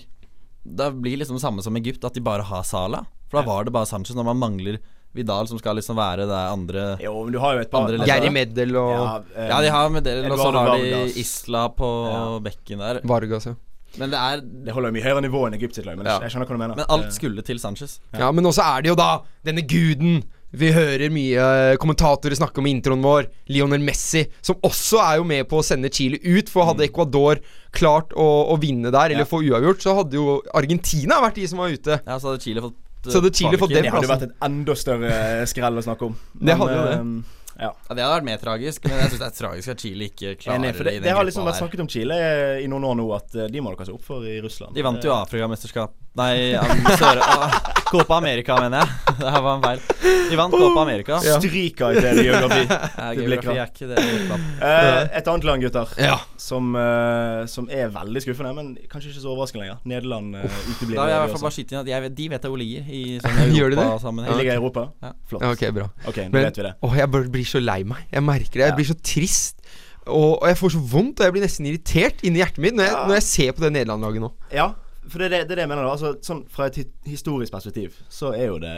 Da blir liksom det samme som Egypt, at de bare har Sala. For da var det bare Sanchez. Når man mangler Vidal, som skal liksom være det andre
Jo, men du har jo et par
Andre
altså,
Gjerri Meddel og
ja, eh,
Ja, de har med dere, og så
Eduardo
har de
Vargas.
Isla på
Ja.
bekken der.
Vargas, ja.
Men det er
Det holder jo mye høyere nivå enn Egypt sitt lag, men
Ja.
jeg skjønner hva du mener. Eh,
Men alt skulle til Sanchez.
Ja, men også er det jo da denne guden vi hører mye eh, kommentatorer snakke om i introen vår, Lionel Messi, som også er jo med på å sende Chile ut. For hadde Ecuador klart å, å vinne der, eller
Mm. Ja.
få uavgjort, så hadde jo Argentina vært de som var ute.
Ja, så hadde Chile fått eh,
Så hadde Chile fått
kvaliken.
det
den
hadde jo vært et enda større skrell å snakke om.
Det hadde jo det.
ehm, Ja.
Ja, det hadde vært mer tragisk, men jeg syns det er tragisk at Chile ikke klarer
Enig,
i
for det,
den
det har
gruppa
liksom vært
der.
snakket om Chile i noen år nå, at eh, de må dere se opp for i Russland. Eh,
De vant jo Afrikamesterskap Nei, am- Sør ah, Copa America, mener jeg. Det her var en feil. De vant Copa America.
Ja. Stryker i det geografi.
Ja,
Det blir
geografi er ikke det. gruppen.
Eh, et annet land, gutter,
Ja.
som, eh, som er veldig skuffende, men kanskje ikke så overraskende lenger. Nederland eh, uteblir.
Da vil jeg i
det
hvert fall
også.
bare skyte inn at jeg vet, de vet jeg hvor ligger i
Gjør
sånn
de det?
De
Europa-sammenheng.
ligger i Europa.
Ja.
Flott.
Ja, ok, bra.
Ok, nå
Men
vet vi det.
åh, jeg bare blir så lei meg. Jeg merker det. Jeg blir så trist. Og, og jeg får så vondt, og jeg blir nesten irritert inni hjertet mitt når jeg, når jeg ser på det Nederland-laget nå.
Ja, for det er det, det er det jeg mener. da. Altså, sånn, fra et hi- historisk perspektiv så er jo det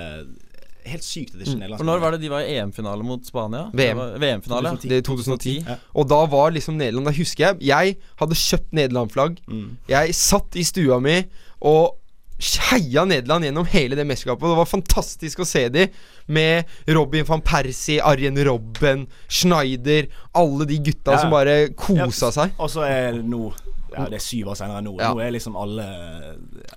helt sykt at det ikke er nederlandsk.
For Mm. når var det de var i EM-finale mot Spania? Det
VM.
var- VM-finale. ja.
Det er 2010.
Ja.
Og da var liksom Nederland Da husker jeg Jeg hadde kjøpt Nederland-flagg.
Mm.
Jeg satt i stua mi og heia Nederland gjennom hele det mesterskapet. Det var fantastisk å se de med Robin van Persie, Arjen Robben, Schneider Alle de gutta
Ja.
som bare kosa
Ja,
seg.
Og så er det nå ja, Det er syv år senere enn nå.
Ja.
Nå er liksom alle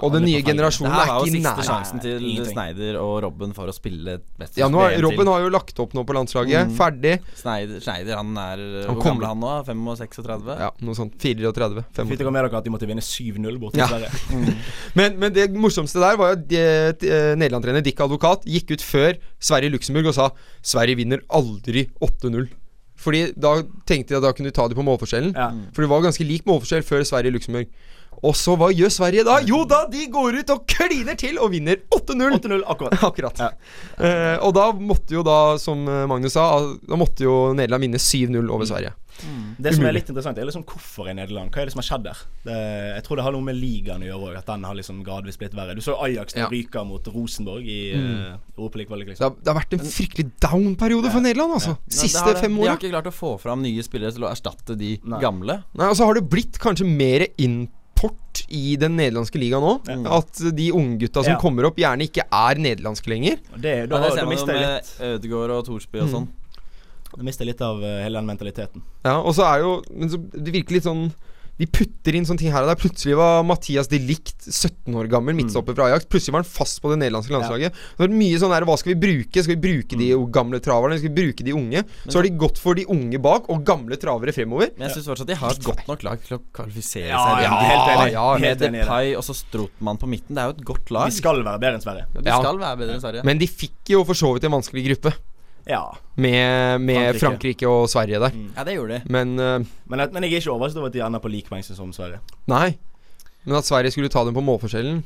Og den nye
alle på felgen.
Det
generasjonen
her
er
var jo
ikke i
siste
nærheten.
sjansen til
ingenting.
Sneider og Robben for å spille best.
Ja, nå har,
VM til. Mm.
Robben har jo lagt opp nå på landslaget. Ferdig.
Schneider, Schneider, han er eh,
Han
Hvor
kommer-
gammel er han nå? 35?
Ja, noe sånt. 34.
Fikk
35.
dere med dere at de måtte vinne 7-0 bort til
Ja.
Sverige?
Men, men det morsomste der var jo at eh, eh, Nederland-trener Dick Advokat gikk ut før Sverige-Luxembourg og sa Sverige vinner aldri 8-0. Fordi da tenkte jeg at da kunne du ta dem på målforskjellen.
Ja.
For det var ganske lik målforskjell før Sverige-Luxembourg. Og så hva gjør Sverige da? Jo da, de går ut og kliner til og vinner 8-0!
8-0 akkurat.
Akkurat. Eh, og da måtte jo da, som eh, Magnus sa, da måtte jo Nederland vinne 7-0 over Sverige.
Det som er
Umulig.
litt interessant, er liksom hvorfor er Nederland? Hva er det som har skjedd der? Det, jeg tror det har noe med ligaen å gjøre òg, at den har liksom gradvis blitt verre. Du så Ajax ja.
Ja.
ryker mot Rosenborg i mm. Europaligaen.
Det
Liksom.
har, det har vært en fryktelig down-periode for Nederland, altså.
Nei, det
Siste
har det.
fem
De
åra.
har ikke klart å få fram nye spillere til å erstatte de gamle.
Nei, og så har det blitt kanskje mer import i den nederlandske ligaen nå. At de unggutta som
Ja.
kommer opp, gjerne ikke er nederlandske lenger.
Og Det, da,
Ja, det
da,
ser man jo
mister jeg
med
litt,
Ødegaard og Thorsby
Mm.
og sånn.
da mister jeg litt av eh, hele den mentaliteten.
Ja, og så er jo Men så, det virker litt sånn de putter inn sånne ting her og der. Plutselig var Mathias de Ligt 17 år gammel, midtstopper fra Ajax. Plutselig var han fast på det nederlandske landslaget. Det har vært mye sånn der, Hva skal vi bruke? Skal vi bruke de gamle traverne? Skal vi bruke de unge? Så har de gått for de unge bak og gamle travere fremover.
Men jeg syns fortsatt de har et godt nok lag til å kvalifisere
Ja,
seg.
ja, helt enig. Helt
Med
enig i det.
Depay og så Strotmann på midten. Det er jo et godt lag.
De skal være bedre enn
De
Sverige.
Ja.
skal være bedre enn Sverige.
Men de fikk jo for så vidt en vanskelig gruppe
Ja.
med, med
Frankrike.
Frankrike. Mm. og Sverige der.
ja, det gjorde de.
Men eh,
Men, jeg- men jeg er ikke overrasket over at de ender på like poeng som Sverige.
Nei, men at Sverige skulle ta dem på målforskjellen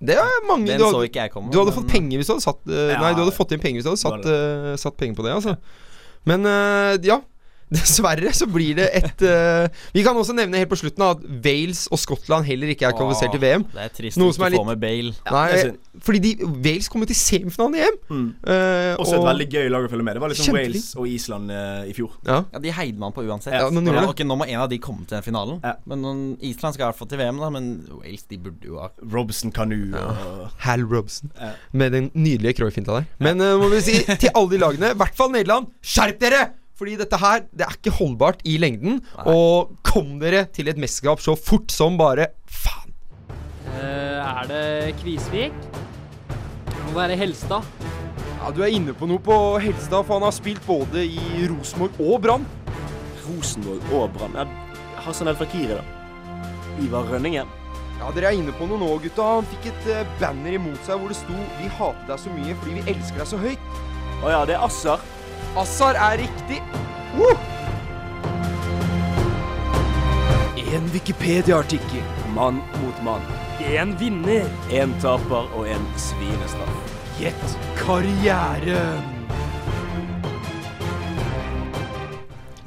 Det er mange
Den
du
så
hadde,
ikke jeg komme.
du hadde
men-
fått penger hvis du hadde satt eh,
Ja.
Nei, du hadde fått inn penger hvis du hadde satt, eh, satt penger på det, altså. Men eh, ja. Dessverre så blir det et eh, Vi kan også nevne helt på slutten at Wales og Skottland heller ikke er kvalifisert til VM.
Det er trist
Noe
å
som
ikke
er litt-
få med Bale.
det
Nei,
er synd. Mm.
fordi de, Wales kom jo til semifinalen i EM. Eh,
Også
og-
et veldig gøy lag å følge med. Det var liksom
Kjempefint.
Wales og Island eh, i fjor.
ja.
Ja, De heide man på uansett.
Ja, men de gjorde det.
ok, Nå må en av de komme til den finalen.
Ja.
Men noen- Island skal i hvert fall til VM, da. Men Wales de burde jo ha
Robson Kanu og
Hal Robson
Ja.
med den nydelige Croy-finta der. Men eh, må vi si til alle de lagene, i hvert fall Nederland, skjerp dere! Fordi dette her det er ikke holdbart i lengden. Og kom dere til et mesterskap så fort som bare faen.
Eh, er det Kvisvik? Må være Helstad.
Ja, Du er inne på noe på Helstad, for han har spilt både i Rosenborg og Brann.
Rosenborg og Brann. Ja, Hassan El Fakiri, da. Ivar Rønningen.
Ja, Dere er inne på noe nå, gutta. Han fikk et eh, banner imot seg hvor det sto 'Vi hater deg så mye fordi vi elsker deg så høyt'.
Å ja, det er Assar.
Assar er riktig. Woo! En Wikipedia-artikkel.
Mann mot mann.
En vinner.
En taper og en svinestraff.
Gjett karrieren.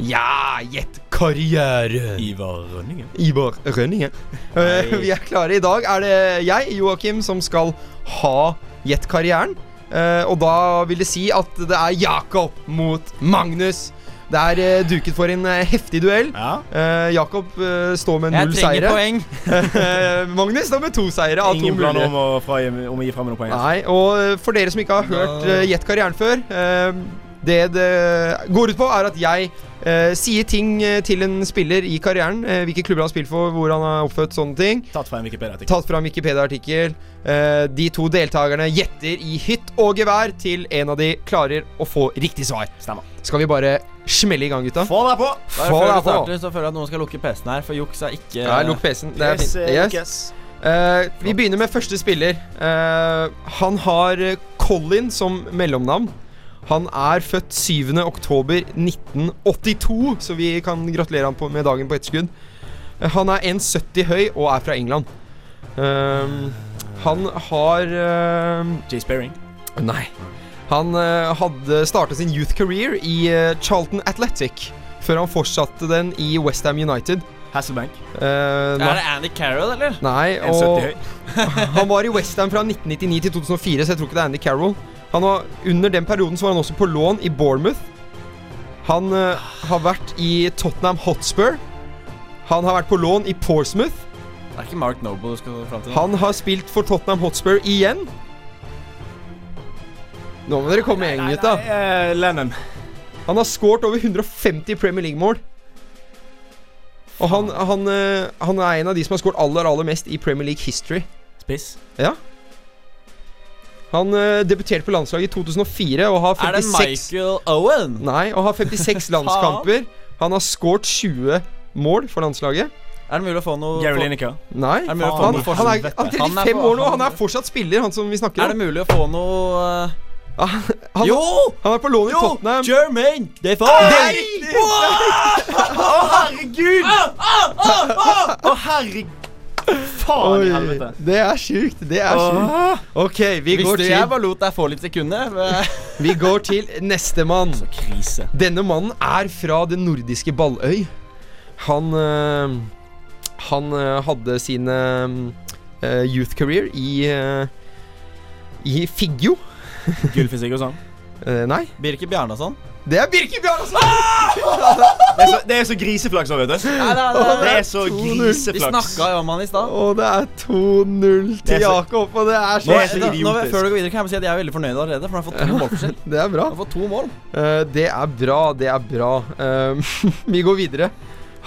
Ja, gjett karrieren.
Ivar Rønningen.
Ivar Rønningen. Eh, vi er klare. I dag er det jeg, Joakim, som skal ha Gjett karrieren. Eh, og da vil det si at det er Jakob mot Magnus. Det er eh, duket for en eh, heftig duell. Eh, Jakob eh, står med
Jeg
null
trenger
seire.
poeng.
Eh, Magnus står med to seire av to
Ingen planer
mulige.
om å, fra, om å gi fra meg noen poeng.
Nei, og eh, for dere som ikke har hørt eh, Gjett karrieren før eh, Det det går ut på er at jeg eh, sier ting eh, til en spiller i karrieren. eh, hvilke klubber han har spilt for, hvor han er oppfødt, sånne ting.
Tatt fra en Wikipedia-artikkel.
Tatt fra en Wikipedia-artikkel. Eh, de to deltakerne gjetter i hytt og gevær til en av de klarer å få riktig svar.
Stemmer.
Skal vi bare smelle i gang, gutta?
Få deg på!
Få
Bare før
deg
du
på!
starter, så føler jeg at noen skal lukke PC-en her, for juks er ikke
Ja, lukk PC-en. Det er
Yes,
fint.
eh,
Yes. Eh, vi begynner med første spiller. Eh, han har eh, Colin som mellomnavn. Han er født 7. oktober 1982, så vi kan gratulere ham på, med dagen på etterskudd. Eh, han er 1,70 høy og er fra England. Eh, han har eh,
Jay Sperring.
Nei. Han eh, hadde startet sin youth career i eh, Charlton Athletic, før han fortsatte den i Westham United.
Hasselbank.
Eh, nei.
Er det Andy Carroll, eller?
Nei,
1,70
og
høy.
han var i Westham fra 1999 til 2004, så jeg tror ikke det er Andy Carroll. Han var, under den perioden så var han også på lån i Bournemouth. Han eh, har vært i Tottenham Hotspur. Han har vært på lån i Portsmouth.
Det er ikke Mark Noble du skal fram til?
Han har spilt for Tottenham Hotspur igjen. Nå må dere komme i gjeng, gutta.
Eh, Lennon.
Han har skåret over 150 Premier League-mål. Og han, han, eh, han er en av de som har skåret aller, aller mest i Premier League history.
Spiss.
Han eh, debuterte på landslaget i 2004 og har
Er det
56
Michael Owen?
Nei, og har 56 landskamper. Han har skåret 20 mål for landslaget.
Er det mulig å få noe
Gary
få-
Lineker.
Nei.
Er det
Han,
mulig å få
han,
noe
er,
forskjell?
han er
Han
35
er på-
år nå, og han
han-
er fortsatt spiller, han som vi
Er
snakker
det
om.
mulig å få noe eh,
Han,
Jo!
han er på lån i
Jo!
Tottenham.
Jermaine Defoe!
Det er riktig!
Å, herregud! Å, herregud! Faen i
Oi,
helvete.
det er sjukt. Det er sjukt. OK, vi går
Visste
til,
jeg bare lot deg få litt sekunder? men-
vi går til nestemann.
Krise.
Denne mannen er fra den nordiske Balløy. Han eh, Han eh, hadde sine eh, youth career i eh, I Figgjo.
Gylfi Sigurdsson.
Eh, nei,
Birke sånn. Bjarnason.
det er Birke Bjarnason!
Det er så, det er så griseflaks òg, vet du. Det er så
Vi
griseflaks.
snakka jo om han i stad.
Og det er 2-0
Det er
til
så-
Jakob, og det er
Det
så
er så
Nå- nå-
idiotisk.
Før du går videre, kan jeg bare si at jeg er veldig fornøyd allerede, for han har fått to målforskjell.
Det er bra.
Han har fått to mål.
Eh, det er bra, det er bra. Eh, vi går videre.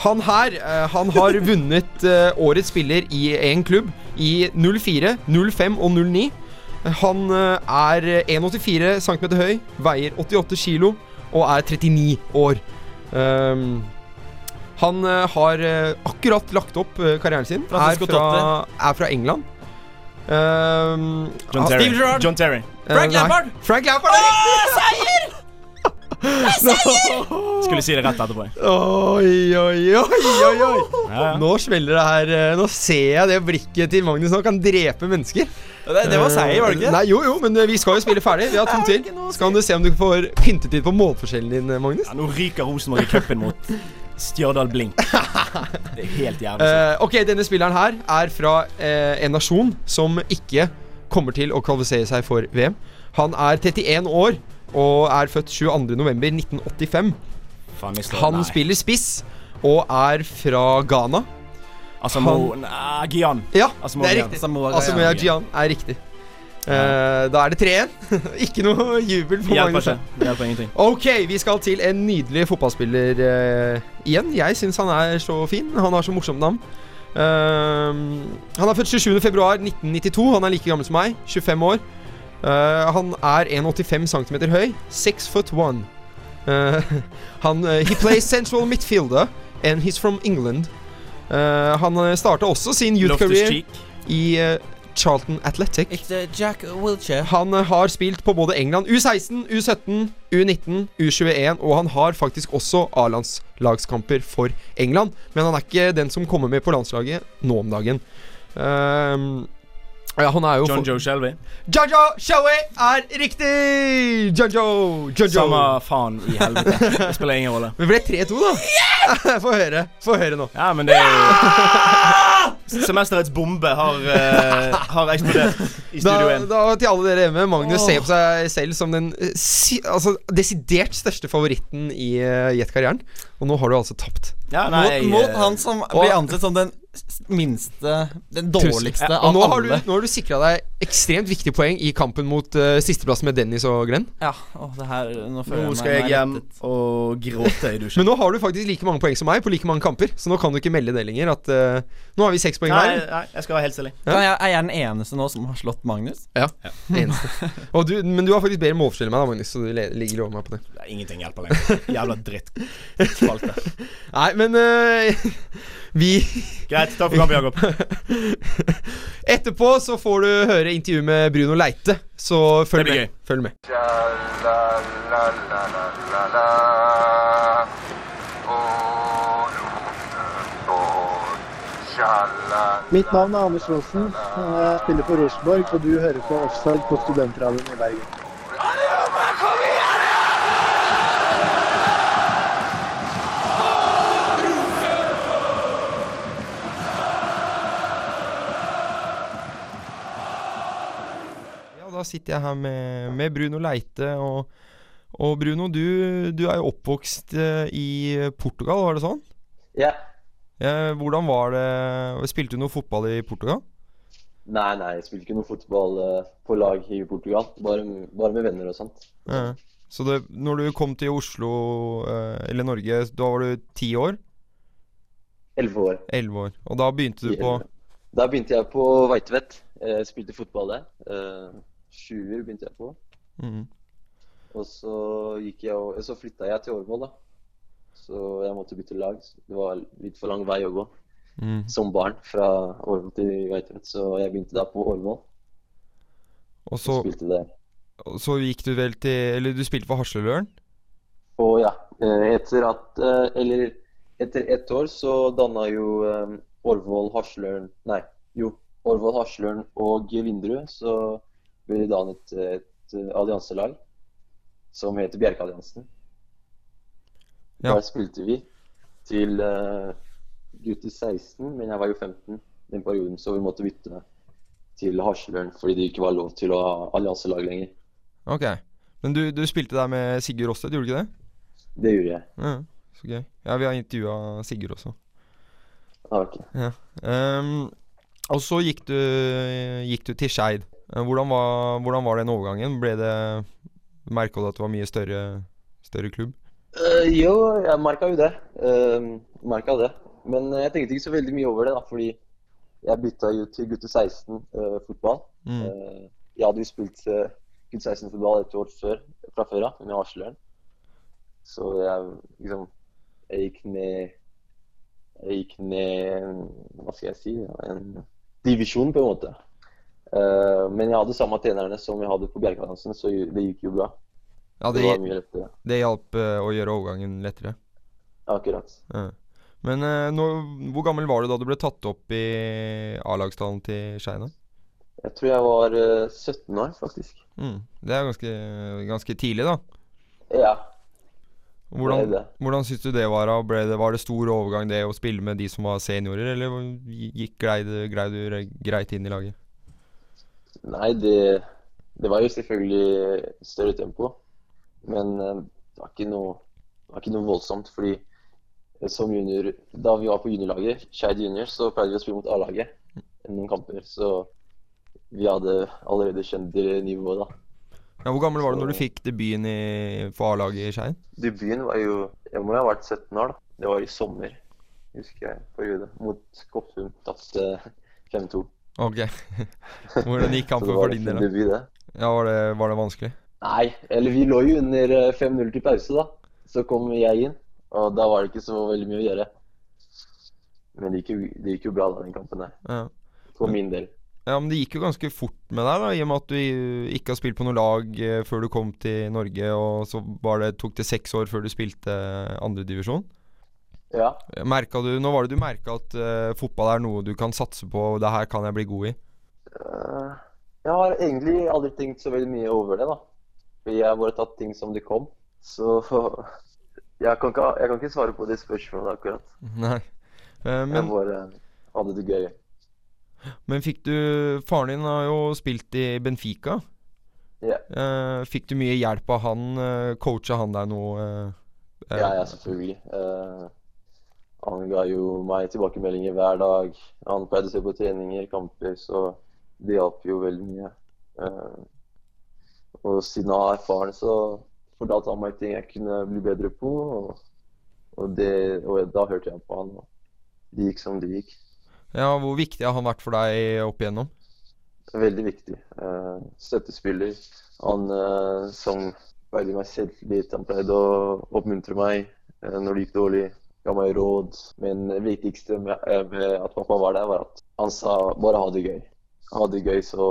Han her eh, han har vunnet eh, årets spiller i én klubb i 04, 05 og 09. Han eh, er 1,84 cm høy, veier 88 kg og er 39 år. Ehm, han eh, har eh, akkurat lagt opp eh, karrieren sin. Er
Francisco
fra, er fra England. Ehm,
John
han-
Terry.
Steve Gerrard.
John Terry.
eh,
Frank
nei.
Lampard.
Frank Lampard er riktig!
Skulle si det rett etterpå.
Oi, oi, oi, oi, oi.
Ja, ja.
Nå smeller det her. eh, Nå ser jeg det blikket til Magnus. Han kan drepe mennesker.
Det, det var seier, var det ikke?
Nei, Jo, jo, men eh, vi skal jo spille ferdig. Vi har to til. Skal du se om du får pyntet litt på målforskjellen din, eh, Magnus?
Ja, nå ryker Rosenborg i cupen mot Stjørdal Blink. Det er helt jævlig.
Eh, ok, denne spilleren her er fra eh, en nasjon som ikke kommer til å kvalifisere seg for VM. Han er 31 år og er født 22.11.1985.
Faen, vi slår-
Han
nei.
spiller spiss og er fra Ghana.
Altså, Mo Nei, Gian.
Ja, det
Asamoah
er
Gyan.
riktig.
Samoa Gyan.
Asamoah Gyan er riktig. Eh, da er det 3-1. ikke noe jubel for
Hjelper
Magnus.
ikke. Det Hjelper ingenting.
Ok, vi skal til en nydelig fotballspiller eh, igjen. Jeg syns han er så fin. Han har så morsomt navn. Ehm, han er født 27.2.1992. Han er like gammel som meg. 25 år. Eh, han er 1,85 cm høy. Six foot one. Eh, han eh, He plays central midfielder, and he's from England. Eh, han starta også sin youth
Loftus
career
Cheek.
i eh, Charlton Athletic.
Jack Wilshere.
Han eh, har spilt på både England U16, U17, U19, U21, og han har faktisk også A-landslagskamper for England. Men han er ikke den som kommer med på landslaget nå om dagen. Ehm, ja, han er jo
John
for-
Joe Shelby.
Jojo Shoei er riktig! Jojo, Jojo.
Samme faen i helvete. Det spiller ingen rolle.
Men ble det 3-2, da? Få høre. Få høre nå.
Ja, men det er jo Semesterets bombe har, eh, har eksplodert i Studio
Da,
1.
da til alle dere hjemme, Magnus
Åh.
ser på seg selv som den eh, si, altså, desidert største favoritten i eh, Jet-karrieren. Og nå har du altså tapt.
Ja, nei,
mot, mot
eh,
han som blir ansett som den s- minste Den dårligste
Ja,
av
og nå har
alle.
du, nå har du sikra deg ekstremt viktige poeng i kampen mot eh, sisteplassen med Dennis og Glenn.
Ja, åh, det her Nå føler
Nå
jeg meg
skal jeg hjem
lettet.
og gråte i dusjen.
Men nå har du faktisk like mange poeng som meg på like mange kamper, så nå kan du ikke melde det lenger. At eh, Nå har vi seks poeng
Nei,
hver.
nei, jeg skal være helt stille.
Kan jeg, er jeg den eneste nå som har slått Magnus?
Ja, det eneste. Og du, men du har faktisk bedre målforskjell enn meg, da, Magnus, så du le- ligger over meg på det.
Nei, Ingenting hjelper lenger. Jævla drittspalte.
Nei, men eh, vi
Greit, takk for kampen, Jakob.
Etterpå så får du høre intervju med Bruno Leite, så følg
Det blir
med.
gøy.
Følg med.
Mitt navn er Anders Rosen. Jeg spiller for Rosenborg, og du hører på Offside på Studentradioen i Bergen.
Ja, da sitter jeg her med, med Bruno Leite. Og, og Bruno, du, du er jo oppvokst eh, i Portugal, var det sånn?
Ja.
Eh, hvordan var det Spilte du noe fotball i Portugal?
Nei, nei, jeg spiller ikke noe fotball eh, på lag i Portugal. Bare, bare med venner og sånt.
Eh, så det, når du kom til Oslo, eh, eller Norge, da var du ti år?
Elleve år.
Elleve år. Og da begynte du på
Da begynte jeg på Veitvet. Jeg spilte fotball der. Eh, Sjuer begynte jeg på.
Mhm.
Og så, gikk jeg og, så flytta jeg til Årvoll, da. Så jeg måtte bytte lag. så Det var litt for lang vei å gå
Mhm.
som barn fra Årvoll til Veitvet. Så jeg begynte da på Årvoll.
Og så,
spilte der.
og så gikk du vel til Eller du spilte for Hasleløren?
Og ja, eh, etter at eh, Eller etter ett år så danna jo eh, Orvoll Haslørn Nei, jo. Orvoll Haslørn og Vinderud så ble det dannet et eh, allianselag som heter Bjerkealliansen.
Ja.
Der spilte vi til eh, gutt i 16, men jeg var jo 15 den perioden, så vi måtte bytte til Haslørn fordi det ikke var lov til å ha allianselag lenger.
Ok. Men du, du spilte der med Sigurd Rosted, gjorde du ikke det?
Det gjorde jeg.
Ja, så gøy. Ja, vi har intervjua Sigurd også.
Ah, ok.
Ja. Ehm, og så gikk du, gikk du til Skeid. Eh, Hvordan, var- hvordan var den overgangen? Ble det Merka du at det var mye større, større klubb?
Eh, jo, jeg merka jo det. Uh, merka det. Men eh, jeg tenkte ikke så veldig mye over det, da, fordi jeg bytta jo til gutte 16 eh, fotball.
Mm.
Eh, jeg hadde jo spilt uh, gutte 16 fotball et år før, fra før av, med Arsenal. Så jeg liksom Jeg gikk ned Jeg gikk ned Hva skal jeg si? En divisjon, på en måte. Eh, men jeg hadde samme trenerne som jeg hadde på Bjerkelandsene, så det gikk jo bra.
Ja, det,
det var mye lettere.
det hjalp eh, å gjøre overgangen lettere.
Akkurat.
Ja. Men eh, nå, hvor gammel var du da du ble tatt opp i A-lagstallen til Skeid? da?
Jeg tror jeg var eh, 17 år, faktisk.
Mm. Det er ganske, ganske tidlig, da.
Ja.
Hvordan,
Det er det.
hvordan syns du det var? da? Ble det, var det stor overgang det å spille med de som var seniorer, eller gikk glei du greit inn i laget?
Nei, det, det var jo selvfølgelig større tempo. Men eh, det var ikke noe, det var ikke noe voldsomt, fordi eh, som junior, da vi var på juniorlaget, Skeid junior, så pleide vi å spille mot A-laget noen kamper. Så vi hadde allerede kjent det nivået, da.
Ja, Hvor gammel var du når du
Så-
fikk debuten i, for A-laget i Skeid?
Debuten var jo Jeg må jo ha vært 17 år, da. Det var i sommer, husker jeg, periode, mot Koppum. Tapte 5-2.
Ok. Hvordan gikk kampen
Så det var
for din
en
del?
fin debut,
da?
det.
Ja, var det, var det vanskelig?
Nei, eller vi lå jo under eh, 5-0 til pause, da. Så kom jeg inn, og da var det ikke så veldig mye å gjøre. Men det gikk jo, det gikk jo bra, da, den kampen der.
Ja.
For min del.
Ja, Men det gikk jo ganske fort med deg, da, i og med at du i- ikke har spilt på noe lag eh, før du kom til Norge, og så var det, tok det seks år før du spilte andredivisjon.
Ja.
Merka du Nå var det du merka at eh, fotball er noe du kan satse på, og det her kan jeg bli god i.
Eh, Jeg har egentlig aldri tenkt så veldig mye over det, da. Fordi jeg har bare tatt ting som de kom. Så jeg kan ikke, jeg kan ikke svare på det spørsmålet akkurat.
Nei. Eh,
Jeg
men,
bare hadde det gøy.
men fikk du Faren din har jo spilt i Benfica.
Ja.
Eh, fikk du mye hjelp av han? Uh, coacha han deg noe? eh, eh,
Ja, ja, selvfølgelig. Eh, han ga jo meg tilbakemeldinger hver dag. Han pleide å se på treninger, kamper, så det hjalp jo veldig mye. Eh, og siden han er erfaren, så fortalte han meg ting jeg kunne bli bedre på. Og, og, det, og da hørte jeg på han, og det gikk som det gikk.
Ja, Hvor viktig har han vært for deg opp igjennom?
Veldig viktig. Eh, støttespiller. Han eh, som veide meg selvtillit. Han pleide å oppmuntre meg eh, når det gikk dårlig. Ga meg råd. Men det viktigste med, eh, med at pappa var der, var at han sa bare ha det gøy. Ha det gøy, så,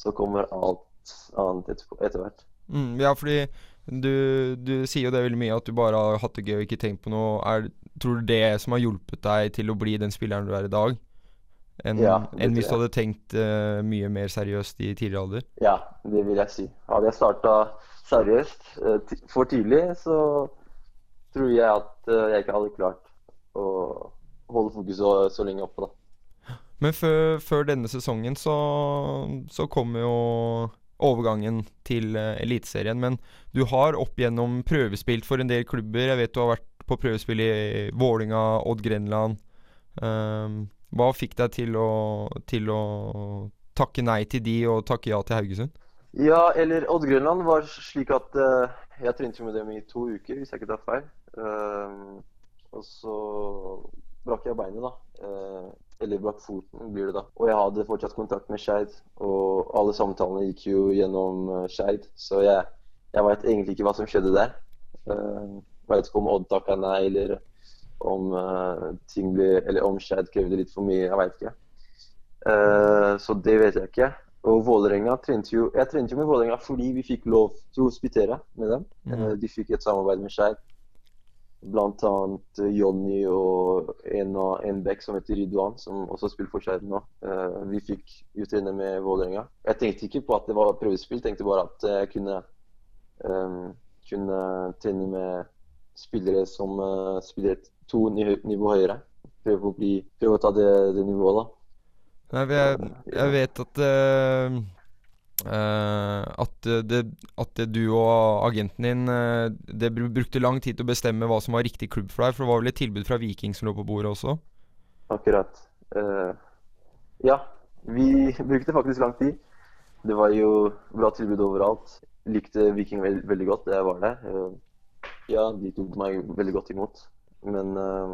så kommer alt annet etterpå, etter hvert.
Mm, ja, fordi du, du sier jo det veldig mye, at du bare har hatt det gøy og ikke tenkt på noe. Er, tror du det som har hjulpet deg til å bli den spilleren du er i dag, enn
Ja, det
enn
tror
hvis du hadde tenkt eh, mye mer seriøst i tidligere alder?
Ja, det vil jeg si. Hadde jeg starta seriøst eh, ti- for tidlig, så tror jeg at eh, jeg ikke hadde klart å holde fokuset så, så lenge oppe, da.
Men før, før denne sesongen så, så kommer jo overgangen til eh, Eliteserien. Men du har opp gjennom prøvespilt for en del klubber. Jeg vet du har vært på prøvespill i Vålinga, Odd Grenland. Ehm, hva fikk deg til å, til å takke nei til de og takke ja til Haugesund?
Ja, eller Odd Grønland var slik at eh, jeg trente med dem i to uker, hvis jeg ikke tar feil. Ehm, og så brakk jeg beinet, da. Eh, eller brakk foten, blir det da. Og jeg hadde fortsatt kontakt med Skeid, og alle samtalene gikk jo gjennom uh, Skeid, så jeg, jeg veit egentlig ikke hva som skjedde der. Uh, veit ikke om Odd takka nei, eller om eh, ting ble Eller om Skeid krevde litt for mye, jeg veit ikke. Eh, så det vet jeg ikke. Og Vålerenga trente jo Jeg trente jo med Vålerenga fordi vi fikk lov til å hospitere med dem. Eh, De fikk et samarbeid med Skeid. Blant annet eh, Jonny og en, av- en back som heter Ridwan, som også spiller for Skeid nå. Eh, Vi fikk jo trene med Vålerenga. Jeg tenkte ikke på at det var prøvespill, tenkte bare at jeg kunne, eh, kunne trene med spillere som eh, spiller et- to nivå, nivå høyere. Prøve å, bli, prøve å ta det, det nivået, da.
Nei, for jeg, jeg vet at eh, eh, at, det, at det du og agenten din eh, Det br- brukte lang tid til å bestemme hva som var riktig klubb for deg. For det var vel et tilbud fra Viking som lå på bordet også?
Akkurat. Eh, ja, vi brukte faktisk lang tid. Det var jo bra tilbud overalt. Likte Viking veld veldig godt da jeg var der. Eh, ja, de tok meg veldig godt imot. Men eh,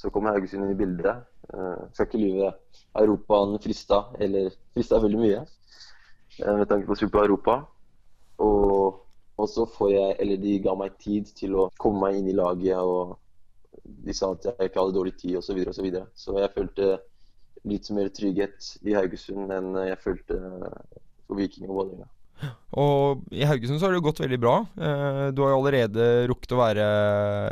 så kom Haugesund inn i bildet. Eh, skal ikke lyve. Europaen frista, eller frista veldig mye. eh, med tanke på Super Europa. Og, og så får jeg, eller de ga meg tid til å komme meg inn i laget og de sa at jeg ikke hadde dårlig tid osv. Så, videre, og så, videre. så jeg følte litt mer trygghet i Haugesund enn jeg følte for Viking og Vålerenga.
Og i Haugesund så har det jo gått veldig bra. Eh, Du har jo allerede rukket å være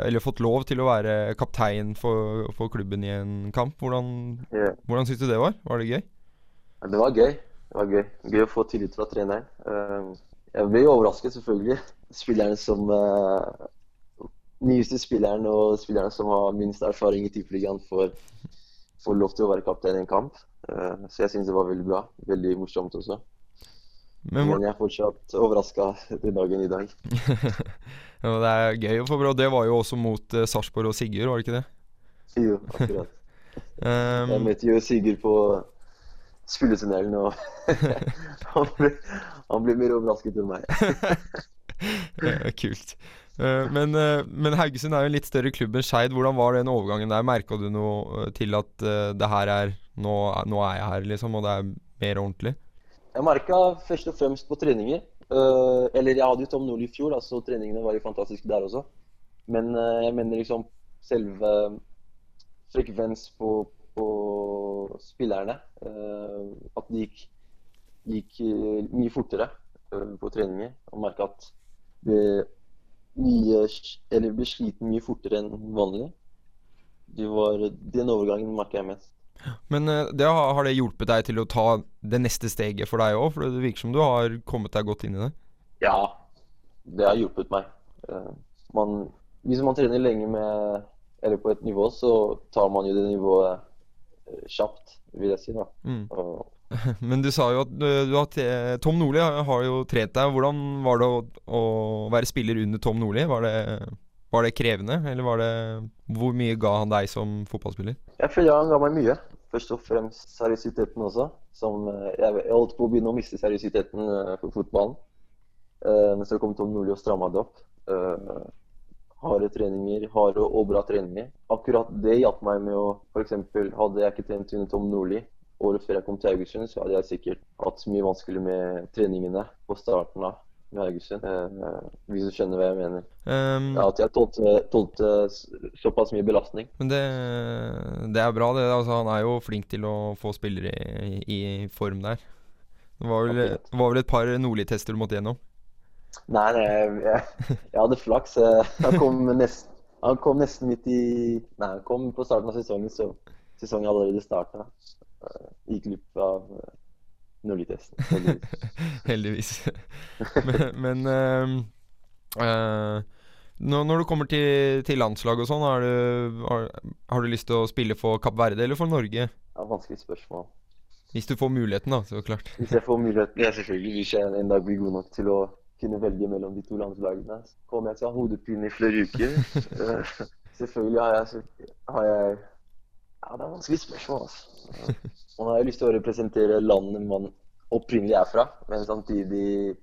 Eller fått lov til å være kaptein for, for klubben i en kamp. Hvordan,
Ja.
hvordan syns du det var? Var det gøy?
Ja, Det var gøy. Det var gøy. Gøy å få tillit fra treneren. Eh, Jeg ble jo overrasket, selvfølgelig. Spilleren som eh, Nyeste spilleren og spilleren som har minst erfaring i Tippeligaen, får, får lov til å være kaptein i en kamp. Eh, Så jeg syns det var veldig bra. Veldig morsomt også.
Men
Men,
hvor-
jeg er fortsatt overraska den dagen i dag.
Ja, det er gøy å få bra. Det var jo også mot eh, Sarpsborg og Sigurd, var det ikke det?
Jo, akkurat.
Um,
jeg møtte jo Sigurd på spilletunnelen, og han ble, han ble mer overrasket enn meg.
Eh, Kult. Eh, Men, eh, men Haugesund er jo en litt større klubb enn Skeid. Hvordan var den overgangen der? Merka du noe eh, til at eh, det her er nå, nå er jeg her, liksom, og det er mer ordentlig?
Jeg merka først og fremst på treninger. Eh, eller jeg hadde jo Tom Nordli i fjor, altså, da, så treningene var jo fantastiske der også. Men eh, jeg mener liksom selve frekvens på, på spillerne. eh, at det gikk, gikk eh, mye fortere eh, på treninger. Og merka at det mye, eller ble sliten mye fortere enn vanlig. Det var den overgangen merka jeg mest.
Men eh, det har, har det hjulpet deg til å ta det neste steget for deg òg? For det virker som du har kommet deg godt inn i det.
Ja, det har hjulpet meg. Eh, Man, hvis man trener lenge med, eller på et nivå, så tar man jo det nivået eh, kjapt, vil jeg si. da.
Mm.
Og
Men du sa jo at eh, du har tre- Tom Nordli har har jo trent deg. Hvordan var det å, å være spiller under Tom Nordli? Var det, var det krevende, eller var det Hvor mye ga han deg som fotballspiller?
jeg føler han ga meg mye. Først og fremst seriøsiteten også. Som eh, jeg, jeg holdt på å begynne å miste seriøsiteten eh, for fotballen. Eh, Men så kom Tom Nordli og stramma det opp. Eh, Harde treninger, harde og bra treninger. Akkurat det hjalp meg med å F.eks. hadde jeg ikke trent under Tom Nordli året før jeg kom til Haugesund, så hadde jeg sikkert hatt mye vanskelig med treningene på starten av med Haugesund. Eh, Hvis du skjønner hva jeg mener.
Um,
Ja, at jeg tålte, tålte s- såpass mye belastning.
Men det, det er bra, det. Altså, han er jo flink til å få spillere i, i form der. Det var vel, det var vel et par Nordli-tester du måtte gjennom.
Nei, nei jeg, jeg, jeg hadde flaks. Eh, Han kom, nest, han kom nesten midt i Nei, han kom på starten av sesongen, så sesongen allerede starta. eh, Gikk glipp av eh, nullitesten. heldigvis.
Heldigvis. men men ehm, eh, nå- når du kommer til, til landslag og sånn, har, du- har, har du lyst til å spille for Kapp Verde eller for Norge?
Det er et vanskelig spørsmål.
Hvis du får muligheten, da, så klart.
Hvis jeg får muligheten, ja selvfølgelig, hvis jeg en dag blir god nok til å kunne velge mellom de to landslagene, så kommer jeg til å ha hodepine i flere uker. Eh, selvfølgelig har jeg, har jeg Ja, det er vanskelig spørsmål, altså. Og nå har jeg lyst til å representere landet man opprinnelig er fra, men samtidig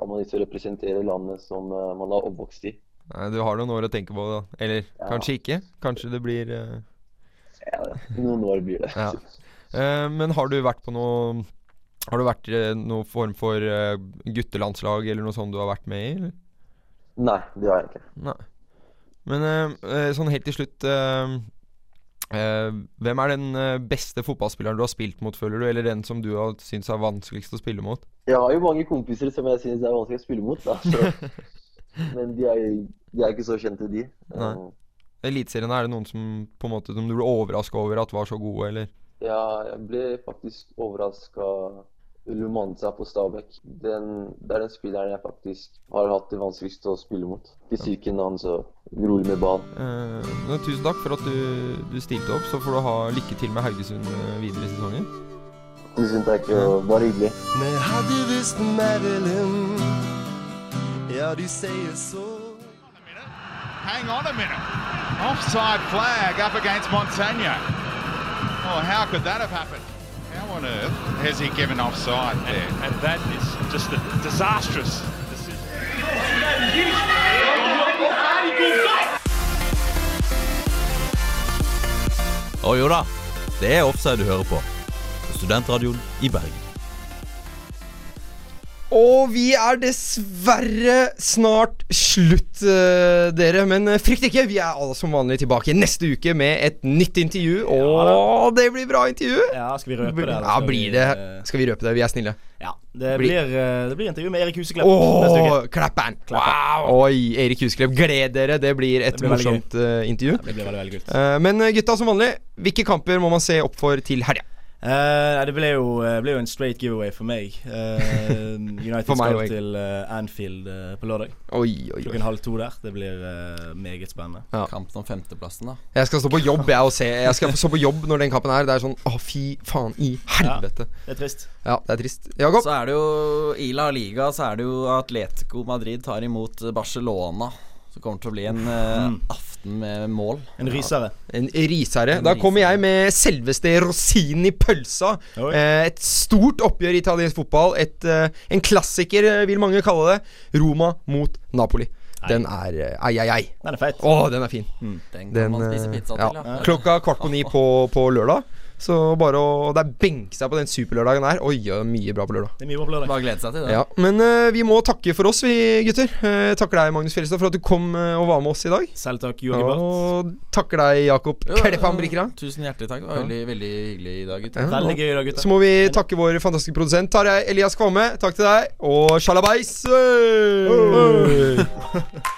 har man lyst til å representere landet som eh, man har oppvokst i.
Nei, du har noen år å tenke på, da. Eller kanskje ikke. Kanskje det blir eh,
Noen år blir det.
Ja. Eh, men har du vært på noe Har du vært eh, noen form for eh, guttelandslag eller noe sånt du har vært med i? Eller?
Nei, det har jeg ikke.
Nei. Men eh, eh, sånn helt til slutt eh, eh, Hvem er den eh, beste fotballspilleren du har spilt mot, føler du? Eller den som du har syntes er vanskeligst å spille mot?
Jeg har jo mange kompiser som jeg synes er vanskelig å spille mot, da. Så. Men de er, de er ikke så kjente, de. Eh,
Nei. Eliteserien, er det noen som på en måte Som du ble overraska over at var så gode, eller?
Ja, jeg ble faktisk overraska Lumanza på Stabæk. Den, det er den spilleren jeg faktisk har hatt det vanskeligst å spille mot. Fysikken hans og rolig med ball.
Eh, men tusen takk for at du, du stilte opp. Så får du ha lykke til med Haugesund eh, videre i sesongen.
Tusen takk, og bare hyggelig.
Vi hadde visst Marilyn. Ja, de sier så.
Hang on a minute. Offside flag up against Monsanto. Oh, how could that have happened? How on earth has he given offside there? And that is just a disastrous decision.
Og jo da, det er offside du hører på. På Studentradioen i Bergen.
Og vi er dessverre snart slutt, eh, dere. Men eh, frykt ikke, vi er alle som vanlig tilbake neste uke med et nytt intervju. og det blir bra intervju!
Ja, skal vi røpe det?
Ja,
eller skal vi,
blir det
eh,
Skal vi røpe det? Vi er snille.
Ja, det
Blir-
blir, eh, det blir intervju med Erik Huseklepp neste uke.
Åh, Klepper'n! Wow! Oi, Erik Husklepp, gled dere. Det blir et
Det blir veldig
morsomt eh, intervju.
Det blir veldig, veldig kult.
Eh, men eh, gutta, som vanlig, hvilke kamper må man se opp for til helga?
Eh, nei, det ble jo, eh, ble jo en straight giveaway for meg. Eh, United
For meg
skal
og jeg.
til eh, Anfield eh, på lørdag.
Oi, oi, oi.
Klokken halv to der. Det blir eh, meget spennende.
Ja.
Kampen om femteplassen, da.
Jeg skal stå på jobb jeg og se Jeg skal stå på jobb når den kampen er. Det er sånn Å, fy faen i helvete.
Det er trist.
Ja, det er trist. Jakob?
Så er det jo i La Liga så er det jo Atletico Madrid tar imot Barcelona. Så kommer det til å bli en eh,
Mm.
aften med mål.
En rysere.
En risere. Da kommer jeg med selveste rosinen i pølsa. Eh, et stort oppgjør i italiensk fotball. Et, eh, en klassiker, eh, vil mange kalle det. Roma mot Napoli. Den er eh, ai, ai, ai.
Den er feit.
Mm.
Å, den eh, er fin.
Den kan man spise pizza til, ja.
Klokka kvart på ni på, på lørdag. Så bare å Det er benke seg på den superlørdagen her. Oi, ja, mye bra på lørdag.
Det er mye bra på lørdag. Bare glede seg til
Ja, Men eh, vi må takke for oss, vi gutter. Eh, takker deg, Magnus Fjellstad, for at du kom eh, og var med oss i dag.
Selv takk, Joakim Barth.
Og takker deg, Jakob Kleppan Brikra.
Tusen hjertelig takk. Det var veldig, veldig hyggelig i dag, gutter.
Ja, og Så må vi takke vår fantastiske produsent Tarjei Elias Kvamme. Takk til deg. Og sjalabais! Hey!